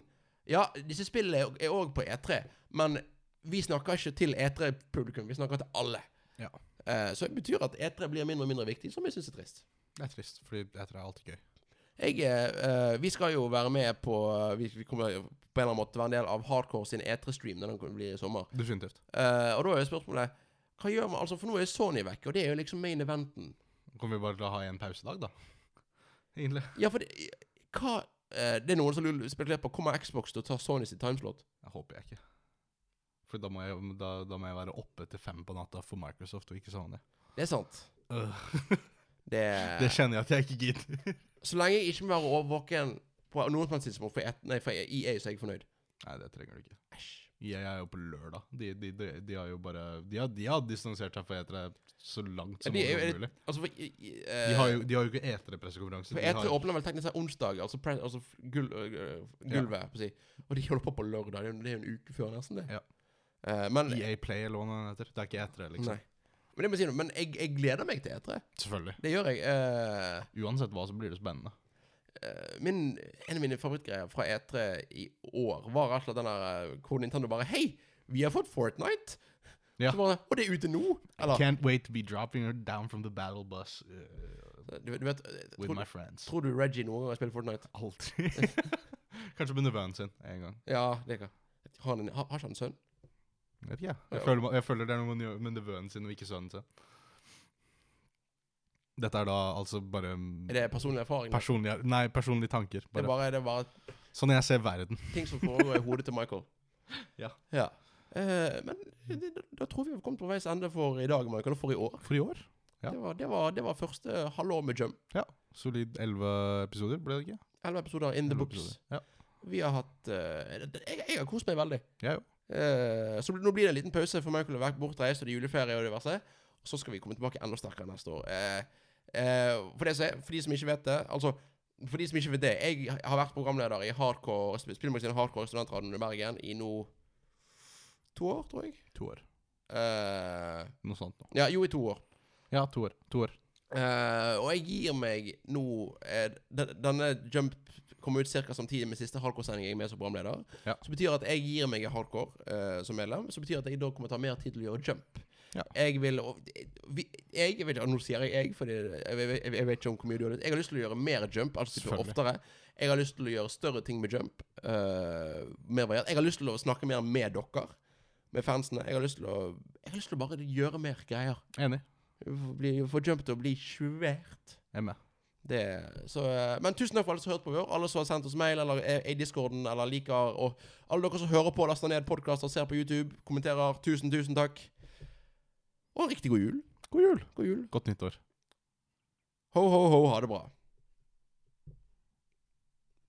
[SPEAKER 1] Ja, disse spillene er òg på E3, men vi snakker ikke til E3-publikum. Vi snakker til alle.
[SPEAKER 2] Ja.
[SPEAKER 1] Eh, så det betyr at E3 blir mindre og mindre viktig, som jeg syns er trist.
[SPEAKER 2] Det er trist, fordi jeg tror det er alltid gøy.
[SPEAKER 1] Jeg, eh, eh, vi skal jo være med på eh, Vi, vi kommer jo på en eller annen måte være en del av Hardcore sin E3-stream når den kommer- blir i sommer.
[SPEAKER 2] Definitivt.
[SPEAKER 1] Eh, og da er jo spørsmålet Hva gjør man? Altså, For nå er Sony vekk, og det er jo liksom main eventen.
[SPEAKER 2] Kommer vi bare til å ha en pausedag, da? <laughs> Egentlig.
[SPEAKER 1] Ja, for det, hva eh, Det er noen som lurer- spekulerer på Kommer Xbox til å ta Sony sitt timeslot?
[SPEAKER 2] Jeg håper jeg ikke. For da må jeg, da, da må jeg være oppe til fem på natta for Microsoft og ikke sovne.
[SPEAKER 1] Det er sant.
[SPEAKER 2] Øh.
[SPEAKER 1] Det,
[SPEAKER 2] Det kjenner jeg at jeg ikke gidder. <laughs>
[SPEAKER 1] så lenge jeg ikke må være overvåken på noen som helst tidspunkt for, et, nei, for EA, så er jeg fornøyd.
[SPEAKER 2] Nei, det trenger du ikke.
[SPEAKER 1] Æsj.
[SPEAKER 2] Jeg er jo på lørdag. De, de, de, de har jo bare De har, de har distansert seg fra etere så langt som
[SPEAKER 1] Ja, de er jo-
[SPEAKER 2] overhodet mulig.
[SPEAKER 1] Altså, for, i- i-
[SPEAKER 2] De har
[SPEAKER 1] eh,
[SPEAKER 2] jo, de har jo ikke etere-pressekonferanse.
[SPEAKER 1] For E
[SPEAKER 2] De
[SPEAKER 1] E3
[SPEAKER 2] har-
[SPEAKER 1] åpner vel teknisk sett onsdag, altså, pre altså f- gul øh, gulvet, på å si. og de holder på på lørdag. Det er jo- det er jo en uke før, nesten. det
[SPEAKER 2] Ja.
[SPEAKER 1] Eh, Men
[SPEAKER 2] EA E Play eller hva den heter. Det er ikke etere, liksom.
[SPEAKER 1] Nei. Men det må jeg si noe, men jeg, jeg gleder meg til E3.
[SPEAKER 2] Selvfølgelig.
[SPEAKER 1] Det gjør jeg. Eh,
[SPEAKER 2] Uansett hva, så blir det spennende.
[SPEAKER 1] eh, min, en av mine favorittgreier fra E3 i år var rett og slett den der eh, hvor Nintendo bare Hei, vi har fått Fortnite!
[SPEAKER 2] Ja.
[SPEAKER 1] Så bare, og det er ute nå! Eller
[SPEAKER 2] Can't wait to be dropping her down from the battle bus uh,
[SPEAKER 1] du, du vet eh,
[SPEAKER 2] with
[SPEAKER 1] tror,
[SPEAKER 2] my friends.
[SPEAKER 1] tror du Reggie noen gang har spilt Fortnite?
[SPEAKER 2] Aldri. <laughs> Kanskje med nevøen sin en gang.
[SPEAKER 1] Ja, det kan Har han en- har- har ikke han en sønn?
[SPEAKER 2] Vet ikke jeg.
[SPEAKER 1] Ja.
[SPEAKER 2] Jeg føler, ma- jeg føler det er noe man gjør med nevøen sin, og ikke sønnen sin. Dette er da altså bare mm,
[SPEAKER 1] Er det personlig erfaring?
[SPEAKER 2] personlige, nei, personlige tanker.
[SPEAKER 1] det er
[SPEAKER 2] Bare.
[SPEAKER 1] bare, det er bare
[SPEAKER 2] Sånn jeg ser verden.
[SPEAKER 1] ting som foregår i hodet til Michael.
[SPEAKER 2] Ja.
[SPEAKER 1] Eh, men det, da, da tror vi vi har kommet på veis ende for i dag, Michael, og for i år.
[SPEAKER 2] For i år. Ja.
[SPEAKER 1] Det, var, det, var, det var første halvår med Jump.
[SPEAKER 2] Solid elleve episoder, ble det ikke?
[SPEAKER 1] Elleve episoder in the
[SPEAKER 2] 11
[SPEAKER 1] books.
[SPEAKER 2] episoder. Ja.
[SPEAKER 1] Vi har hatt eh, det- jeg, jeg har kost meg veldig.
[SPEAKER 2] Jeg òg.
[SPEAKER 1] Eh, så nå blir det en liten pause, for Michael har vært bortreist, og det er juleferie og diverse. Og så skal vi komme tilbake enda sterkere neste år. Eh, eh, for, det, som er- for de som ikke vet det Altså for de som ikke vet det, jeg har vært programleder i hardcore, spillmagasinet Hardcore Studentradioen i Bergen i nå to år, tror jeg.
[SPEAKER 2] To år.
[SPEAKER 1] Eh,
[SPEAKER 2] Noe sånt nå.
[SPEAKER 1] ja, jo, i to år.
[SPEAKER 2] Ja, to år. To år.
[SPEAKER 1] Eh, og jeg gir meg nå eh, den- Denne Jump kommer ut ca. samtidig med siste hardcore-sending jeg er med som programleder.
[SPEAKER 2] Ja.
[SPEAKER 1] Som betyr at jeg gir meg i hardcore eh, som medlem. Som betyr at jeg da kommer ta mer tid til å gjøre jump.
[SPEAKER 2] Ja.
[SPEAKER 1] Jeg vil og, vi, jeg, jeg vet ikke, Nå sier jeg jeg, fordi jeg, jeg, jeg vet ikke om hvor mye du har lyst Jeg har lyst til å gjøre mer jump, altså type
[SPEAKER 2] Selvfølgelig.
[SPEAKER 1] oftere. Jeg har lyst til å gjøre større ting med jump. eh, mer variert. Jeg har lyst til å snakke mer med dere, med fansene. Jeg har lyst til å, jeg har lyst til å bare gjøre mer greier.
[SPEAKER 2] Enig.
[SPEAKER 1] Bli- Få jump til å bli svært.
[SPEAKER 2] Jeg er med.
[SPEAKER 1] Det, så, eh, men tusen takk for alle som har hørt på vår. Alle som har sendt oss mail eller er i discorden eller liker. Og alle dere som hører på, laster ned podkaster, ser på YouTube, kommenterer. Tusen, tusen takk. Og riktig god jul.
[SPEAKER 2] God jul.
[SPEAKER 1] God jul.
[SPEAKER 2] Godt nyttår.
[SPEAKER 1] Ho, ho, ho. Ha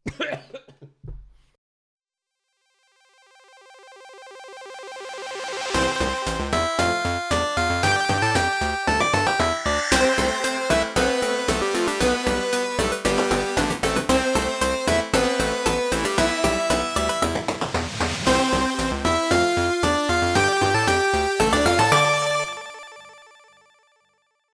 [SPEAKER 1] det bra.